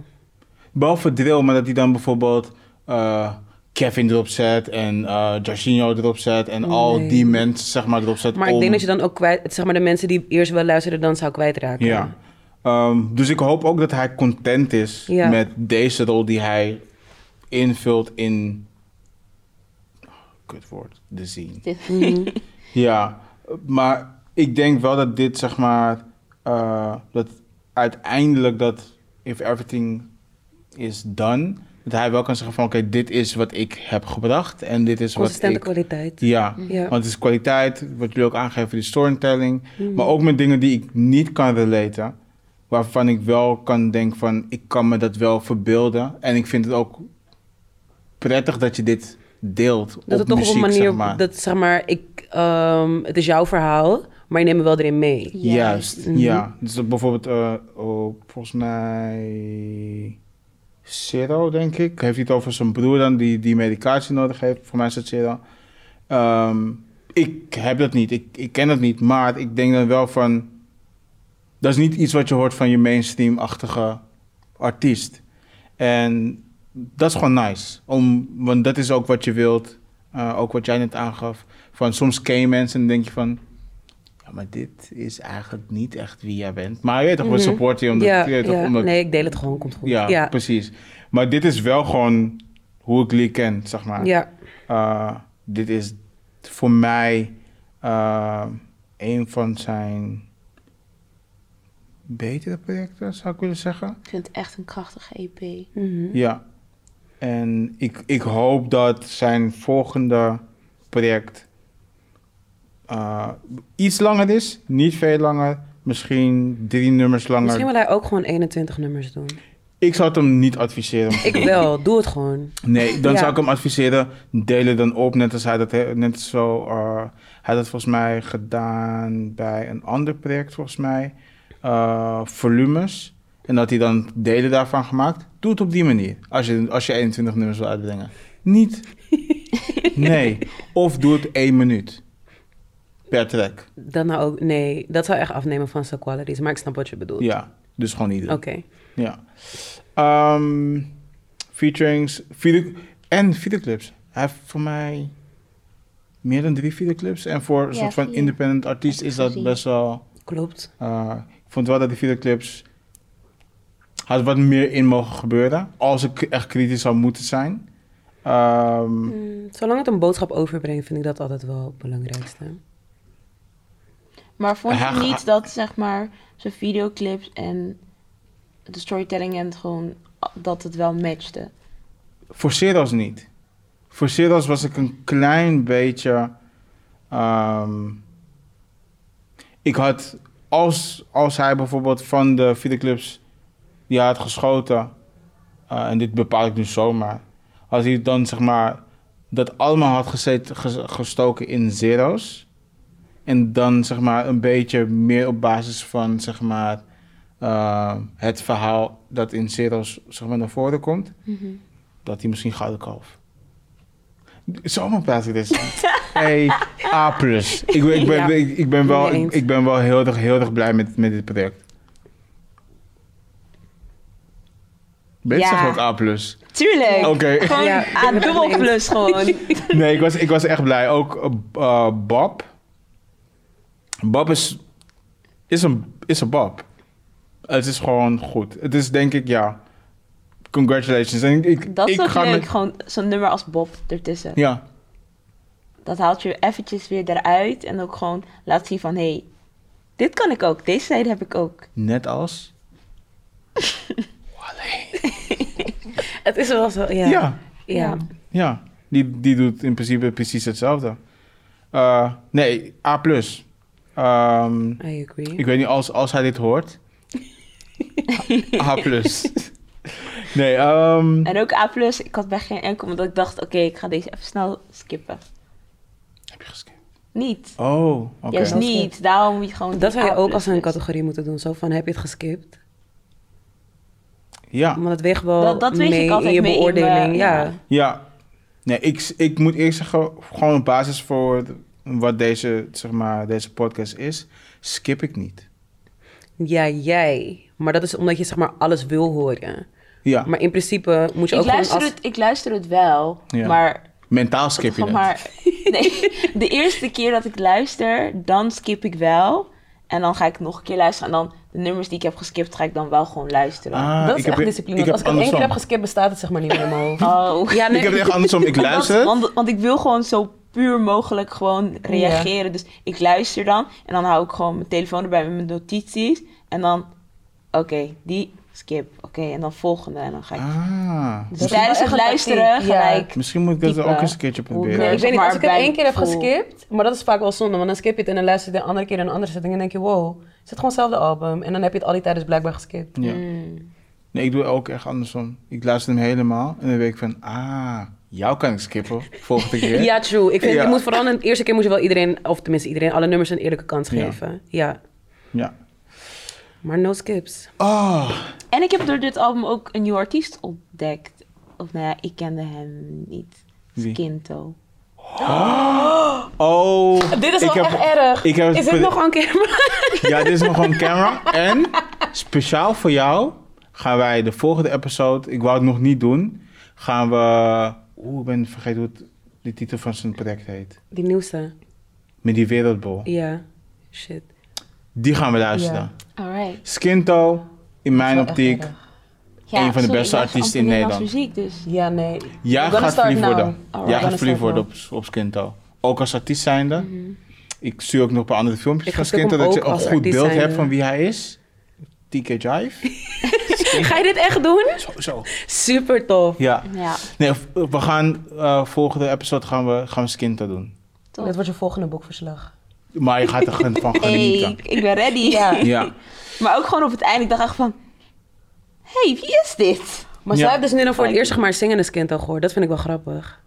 Speaker 3: Behalve drill, maar dat hij dan bijvoorbeeld eh, Kevin erop zet en eh Jorginho erop zet en al
Speaker 2: Nee.
Speaker 3: die mensen zeg maar erop zet
Speaker 2: Maar ik
Speaker 3: om-
Speaker 2: denk dat je dan ook kwijt... Zeg maar de mensen die eerst wel luisterden, dan zou kwijtraken.
Speaker 3: Ja. Ehm, dus ik hoop ook dat hij content is
Speaker 2: Ja.
Speaker 3: met deze rol die hij invult in. Kut woord, de scene.
Speaker 1: Dit-
Speaker 2: Mhm.
Speaker 3: Ja, maar ik denk wel dat dit zeg maar. eh, dat uiteindelijk dat. If everything is done. Dat hij wel kan zeggen van oké, dit is wat ik heb gebracht en dit is wat
Speaker 2: Consistente
Speaker 3: ik...
Speaker 2: kwaliteit.
Speaker 3: Ja,
Speaker 2: Ja.
Speaker 3: want het is kwaliteit, wat jullie ook aangeven, de storytelling.
Speaker 2: Hmm.
Speaker 3: Maar ook met dingen die ik niet kan relaten. Waarvan ik wel kan denken van, ik kan me dat wel verbeelden. En ik vind het ook prettig dat je dit deelt
Speaker 2: Dat
Speaker 3: op
Speaker 2: het toch
Speaker 3: muziek,
Speaker 2: op een manier,
Speaker 3: zeg maar.
Speaker 2: dat zeg maar, ik, ehm, het is jouw verhaal, maar je neemt me wel erin mee.
Speaker 3: Juist,
Speaker 2: Mhm.
Speaker 3: ja. Dus dat bijvoorbeeld eh, op, volgens mij Zero, denk ik. Heeft hij het over zijn broer dan die, die medicatie nodig heeft. Voor mij is het Zero. Ehm, ik heb dat niet. Ik, ik ken dat niet. Maar ik denk dan wel van... Dat is niet iets wat je hoort van je mainstream-achtige artiest. En dat is gewoon nice. Om, want dat is ook wat je wilt. eh, ook wat jij net aangaf. Van soms ken je mensen en denk je van... Ja, maar dit is eigenlijk niet echt wie jij bent. Maar je weet toch, we
Speaker 2: Mhm.
Speaker 3: supporten je omdat...
Speaker 2: ja,
Speaker 3: je weet toch,
Speaker 2: ja.
Speaker 3: omdat
Speaker 2: nee, ik deel het gewoon, komt goed.
Speaker 3: ja,
Speaker 2: ja.
Speaker 3: precies. Maar dit is wel gewoon hoe ik Lee ken, zeg maar.
Speaker 2: Ja.
Speaker 3: Eh, dit is voor mij eh, een van zijn betere projecten, zou ik willen zeggen.
Speaker 1: Ik vind het echt een krachtige E EP.
Speaker 2: Mhm.
Speaker 3: Ja. En ik, ik hoop dat zijn volgende project eh, iets langer is. Niet veel langer. Misschien drie nummers langer.
Speaker 2: Misschien wil hij ook gewoon 21 nummers doen.
Speaker 3: Ik zou het hem niet adviseren.
Speaker 2: Ik wel, doe het gewoon.
Speaker 3: Nee, dan
Speaker 2: Ja.
Speaker 3: zou ik hem adviseren, deel het dan op. Net als hij dat, he- net zo, eh, hij had dat volgens mij gedaan bij een ander project, volgens mij. eh, volumes. En dat hij dan delen daarvan gemaakt. Doe het op die manier, als je, als je 21 nummers wil uitbrengen. Niet. Nee. Of doe het één minuut. Per track.
Speaker 2: Dan nou ook, nee, dat zou echt afnemen van zijn qualities, maar ik snap wat je bedoelt.
Speaker 3: Ja, dus gewoon niet doen.
Speaker 2: Oké.
Speaker 3: Ja. Ehm, featurings, video, en videoclips. Hij heeft voor mij meer dan drie videoclips. En voor een
Speaker 1: Ja,
Speaker 3: soort van
Speaker 1: vier.
Speaker 3: independent artiest
Speaker 1: Heb ik
Speaker 3: is dat
Speaker 1: gezien.
Speaker 3: best wel...
Speaker 2: Klopt.
Speaker 3: eh, ik vond wel dat die videoclips... Had wat meer in mogen gebeuren. Als ik echt kritisch zou moeten zijn. Ehm,
Speaker 2: Mm, Zolang het een boodschap overbrengt, vind ik dat altijd wel het belangrijkste.
Speaker 1: Maar vond je
Speaker 3: Hij-
Speaker 1: niet dat, zeg maar, zijn videoclips en de storytelling en het gewoon, dat het wel matchte?
Speaker 3: Voor Seros niet. Voor Seros was ik een klein beetje. ehm, ik had. Als, als hij bijvoorbeeld van de videoclips die hij had geschoten. eh, en dit bepaal ik nu zomaar. Als hij dan zeg maar. dat allemaal had gezet, ges- gestoken in Zeros. En dan zeg maar een beetje meer op basis van zeg maar. eh, het verhaal dat in Zeros zeg maar, naar voren komt dat hij misschien gouden kalf. Zomaar praat ik dit. Hey, A+. plus. Ik, ben- ik, ben,
Speaker 2: Ja.
Speaker 3: ik, ik ben wel,
Speaker 2: Mee
Speaker 3: ik,
Speaker 2: eens.
Speaker 3: ik ben wel heel erg, heel erg blij met, met dit project. Ben je
Speaker 1: Ja.
Speaker 3: zegt ook A+. plus.
Speaker 1: Tuurlijk!
Speaker 3: Oké.
Speaker 1: Gewoon
Speaker 2: Ja, ik ben
Speaker 1: aan
Speaker 2: het
Speaker 1: dubbel
Speaker 2: mee
Speaker 1: plus gewoon.
Speaker 3: Nee, ik was, ik was echt blij. Ook eh, b- eh, Bob. Bob is, is, een, is een Bob. Het is gewoon goed. Het is denk ik, ja. Congratulations. En ik, ik,
Speaker 1: Dat is
Speaker 3: ik
Speaker 1: ook
Speaker 3: ga
Speaker 1: leuk,
Speaker 3: met...
Speaker 1: gewoon zo'n nummer als Bob ertussen.
Speaker 3: Ja,
Speaker 1: Dat haalt je eventjes weer eruit en ook gewoon laat zien van, hé, hey, dit kan ik ook, deze zijde heb ik ook.
Speaker 3: net als...
Speaker 2: Het is wel zo, ja.
Speaker 3: Ja,
Speaker 2: Ja.
Speaker 3: ja. Die, die doet in principe precies hetzelfde. Eh, nee, A+. Ehm,
Speaker 2: I agree.
Speaker 3: ik weet niet, als, als hij dit hoort... A+. Nee, ehm,
Speaker 1: En ook A+, plus, ik had bij geen enkel, omdat ik dacht, oké, ik ga deze even snel skippen.
Speaker 3: Heb je geskipt?
Speaker 1: Niet.
Speaker 3: Oh, oké.
Speaker 1: Juist niet, daarom moet je gewoon...
Speaker 2: Dat zou je
Speaker 1: A+
Speaker 2: ook als een
Speaker 1: plus.
Speaker 2: categorie moeten doen. Zo van, heb je het geskipt?
Speaker 3: Ja,
Speaker 2: Want het weegt wel
Speaker 1: Dat- dat weeg ik
Speaker 2: mee
Speaker 1: altijd
Speaker 2: in je
Speaker 1: mee in
Speaker 2: beoordeling.
Speaker 1: mijn-
Speaker 2: ja.
Speaker 1: ja.
Speaker 3: ja. Nee, ik, ik moet eerst zeggen, gewoon op basis voor wat deze, zeg maar, deze podcast is, skip ik niet.
Speaker 2: Ja, jij. Maar dat is omdat je zeg maar alles wil horen.
Speaker 3: Ja,
Speaker 2: Maar in principe moet je
Speaker 1: Ik
Speaker 2: ook gewoon
Speaker 1: luister,
Speaker 2: als...
Speaker 1: het, ik luister het wel,
Speaker 3: Ja.
Speaker 1: maar
Speaker 3: mentaal skip je
Speaker 1: Van
Speaker 3: dat.
Speaker 1: maar, nee, de eerste keer dat ik luister, dan skip ik wel. En dan ga ik nog een keer luisteren. En dan de nummers die ik heb geskipt, ga ik dan wel gewoon luisteren.
Speaker 3: Ah,
Speaker 4: dat is
Speaker 3: ik heb-
Speaker 4: echt discipline.
Speaker 3: ik
Speaker 4: want
Speaker 3: heb
Speaker 4: als ik het één keer heb
Speaker 3: andersom.
Speaker 4: geskipt, bestaat het zeg maar niet meer in mijn hoofd.
Speaker 3: Ah.
Speaker 1: Oh.
Speaker 2: Ja, nee.
Speaker 3: Ik heb het echt andersom. Ik luister
Speaker 1: Want,
Speaker 3: het.
Speaker 1: want, want ik wil gewoon zo puur mogelijk gewoon reageren. Dus ik luister dan. En dan hou ik gewoon mijn telefoon erbij met mijn notities. En dan oké, die skip. Oké, en dan volgende en dan ga ik...
Speaker 3: Ah,
Speaker 1: Dus
Speaker 4: Dat is
Speaker 1: tijdens
Speaker 4: wel
Speaker 1: het
Speaker 4: echt een
Speaker 1: luisteren
Speaker 4: tactiek, ja.
Speaker 1: gelijk...
Speaker 3: misschien moet ik dat
Speaker 1: Type.
Speaker 3: ook eens een keertje proberen.
Speaker 1: Nee,
Speaker 4: ik weet niet,
Speaker 1: maar
Speaker 4: als ik het
Speaker 1: bij
Speaker 4: één keer heb
Speaker 1: gevoel.
Speaker 4: geskipt, maar dat is vaak wel zonde, want dan skip je het en dan luister je de andere keer een andere setting en denk je, wow, het is gewoon hetzelfde album. En dan heb je het al die tijd dus blijkbaar geskipt.
Speaker 3: Ja.
Speaker 1: Mm.
Speaker 3: Nee, ik doe ook echt andersom. Ik luister hem helemaal en dan weet ik van, ah, jou kan ik skippen volgende keer.
Speaker 2: Ja, true. Ik vind,
Speaker 3: Ja.
Speaker 2: je moet vooral, een- de eerste keer moet je wel iedereen, of tenminste iedereen, alle nummers een eerlijke kans
Speaker 3: Ja.
Speaker 2: geven. Ja.
Speaker 3: Ja.
Speaker 2: Maar no skips.
Speaker 3: Oh,
Speaker 1: En ik heb door dit album ook een nieuwe artiest ontdekt. Of nou ja, ik kende hem niet.
Speaker 3: Wie?
Speaker 1: Skinto.
Speaker 3: oh.
Speaker 4: Dit is
Speaker 3: ik
Speaker 4: wel
Speaker 3: heb-
Speaker 4: echt erg.
Speaker 3: Ik heb
Speaker 2: Is dit nog on camera?
Speaker 3: Ja, dit is nog een camera. En speciaal voor jou gaan wij de volgende episode, ik wou het nog niet doen, gaan we, oeh, ik ben vergeten hoe het, de titel van zijn project heet.
Speaker 2: Die nieuwste.
Speaker 3: Met die wereldbol.
Speaker 2: Ja. Shit.
Speaker 3: Die gaan we luisteren.
Speaker 4: Ja.
Speaker 1: Alright.
Speaker 3: Skinto, in mijn
Speaker 4: Dat is wel echt
Speaker 3: optiek,
Speaker 4: erg.
Speaker 3: Eén van de beste artiesten in
Speaker 1: muziek, dus...
Speaker 4: Ja, nee.
Speaker 3: Jij
Speaker 4: I'm gonna
Speaker 3: gaat
Speaker 4: start
Speaker 3: verliefd
Speaker 4: now.
Speaker 3: worden.
Speaker 4: Alright.
Speaker 3: Jij
Speaker 4: I'm
Speaker 3: gaat
Speaker 4: gonna
Speaker 3: verliefd
Speaker 4: start
Speaker 3: worden op, op Skinto. Ook als artiest zijnde. Ik stuur ook nog een paar andere filmpjes
Speaker 2: Ik
Speaker 3: van
Speaker 2: verzoek
Speaker 3: Skinto.
Speaker 2: hem
Speaker 3: Dat je
Speaker 2: ook
Speaker 3: een
Speaker 2: als
Speaker 3: goed
Speaker 2: artiest
Speaker 3: beeld hebt
Speaker 2: zijnde.
Speaker 3: van wie hij is. TK Jive.
Speaker 2: Ga je dit echt doen?
Speaker 3: zo, zo.
Speaker 2: Super tof.
Speaker 3: Ja.
Speaker 4: dus.
Speaker 1: Ja,
Speaker 3: Nee, v- we gaan eh, volgende episode gaan we, gaan we Skinto doen.
Speaker 4: now.
Speaker 1: top.
Speaker 4: Dit wordt je volgende boekverslag.
Speaker 3: Maar je gaat er gewoon van
Speaker 1: Hey,
Speaker 3: genieten.
Speaker 1: ik, ik ben ready.
Speaker 3: Ja.
Speaker 1: Maar ook gewoon op het eind. Ik dacht echt van... hey, wie is dit?
Speaker 4: Maar
Speaker 3: Ja.
Speaker 4: zij
Speaker 2: Ik heb dus nu dan voor het
Speaker 1: Fijn.
Speaker 2: eerst zeg maar zingende kind al gehoord. Dat vind ik wel grappig.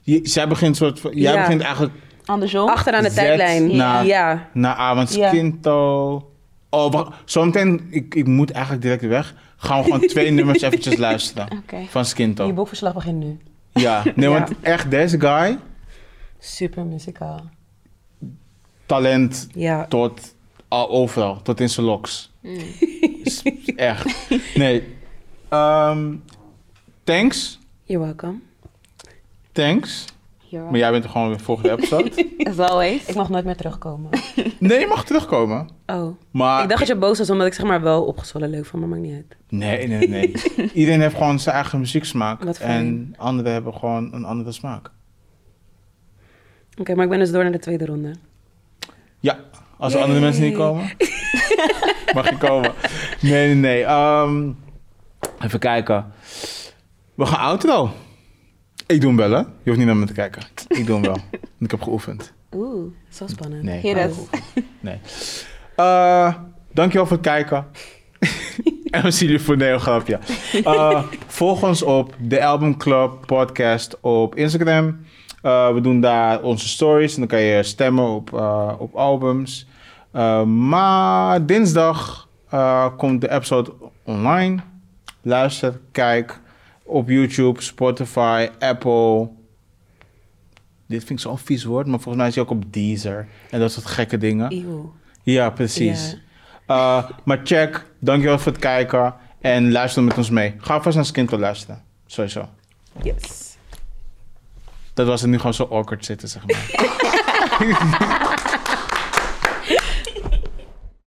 Speaker 3: Je- zij begint soort van, jij
Speaker 2: Ja.
Speaker 3: begint eigenlijk
Speaker 1: Andersom.
Speaker 2: Achteraan de
Speaker 3: Zet
Speaker 2: tijdlijn.
Speaker 3: na-
Speaker 2: Ja.
Speaker 3: na avond
Speaker 4: Ja.
Speaker 3: Skinto. Oh, wacht, zometeen, ik, ik moet eigenlijk direct weg. Gaan we gewoon twee nummers eventjes luisteren.
Speaker 1: Oké.
Speaker 3: Van Skinto.
Speaker 4: Je boekverslag begint nu.
Speaker 3: Ja, nee,
Speaker 2: Ja.
Speaker 3: want echt deze guy,
Speaker 4: Super muzikaal.
Speaker 3: talent
Speaker 2: Ja.
Speaker 3: tot al overal, tot in zijn loks.
Speaker 2: Mm.
Speaker 3: Is Echt. Nee. Ehm, thanks,
Speaker 2: You're welcome.
Speaker 3: thanks.
Speaker 1: You're
Speaker 3: Maar jij bent er gewoon weer volgende episode.
Speaker 1: right. As always.
Speaker 4: Ik mag nooit meer terugkomen.
Speaker 3: Nee, je mag terugkomen.
Speaker 2: Oh.
Speaker 3: Maar
Speaker 2: Ik dacht dat je boos was omdat ik zeg maar wel opgezwollen leuk vond, maar maakt niet uit.
Speaker 3: nee, nee, nee. Iedereen heeft gewoon zijn eigen muzieksmaak.
Speaker 2: Wat
Speaker 3: en
Speaker 2: fijn.
Speaker 3: anderen hebben gewoon een andere smaak.
Speaker 2: Oké, maar ik ben dus door naar de tweede ronde.
Speaker 3: Ja, als er andere mensen niet komen, mag je komen. Nee, nee, nee. Ehm, even kijken. We gaan outro. Ik doe hem wel, hè? Je hoeft niet naar me te kijken. Ik doe hem wel. Want ik heb geoefend.
Speaker 1: Oeh.
Speaker 2: Zo spannend.
Speaker 3: Nee.
Speaker 1: Hit
Speaker 3: ik heb
Speaker 1: us.
Speaker 3: geoefend. Nee. Eh, dankjewel voor het kijken. en we zien jullie voor een heel grapje. Eh, volg ons op de Album Club podcast op Instagram. Eh, we doen daar onze stories en dan kan je stemmen op, eh, op albums. Eh, maar dinsdag eh, komt de episode online. Luister, kijk op YouTube, Spotify, Apple. Dit vind ik zo'n vies woord, maar volgens mij is hij ook op Deezer. En dat soort gekke dingen.
Speaker 2: Eeuw.
Speaker 3: Ja, precies.
Speaker 2: Ja.
Speaker 3: Eh, maar check, dankjewel voor het kijken en luister met ons mee. Ga vast naar Skintel luisteren, sowieso.
Speaker 2: Yes.
Speaker 3: Dat was het nu gewoon zo awkward zitten, zeg maar.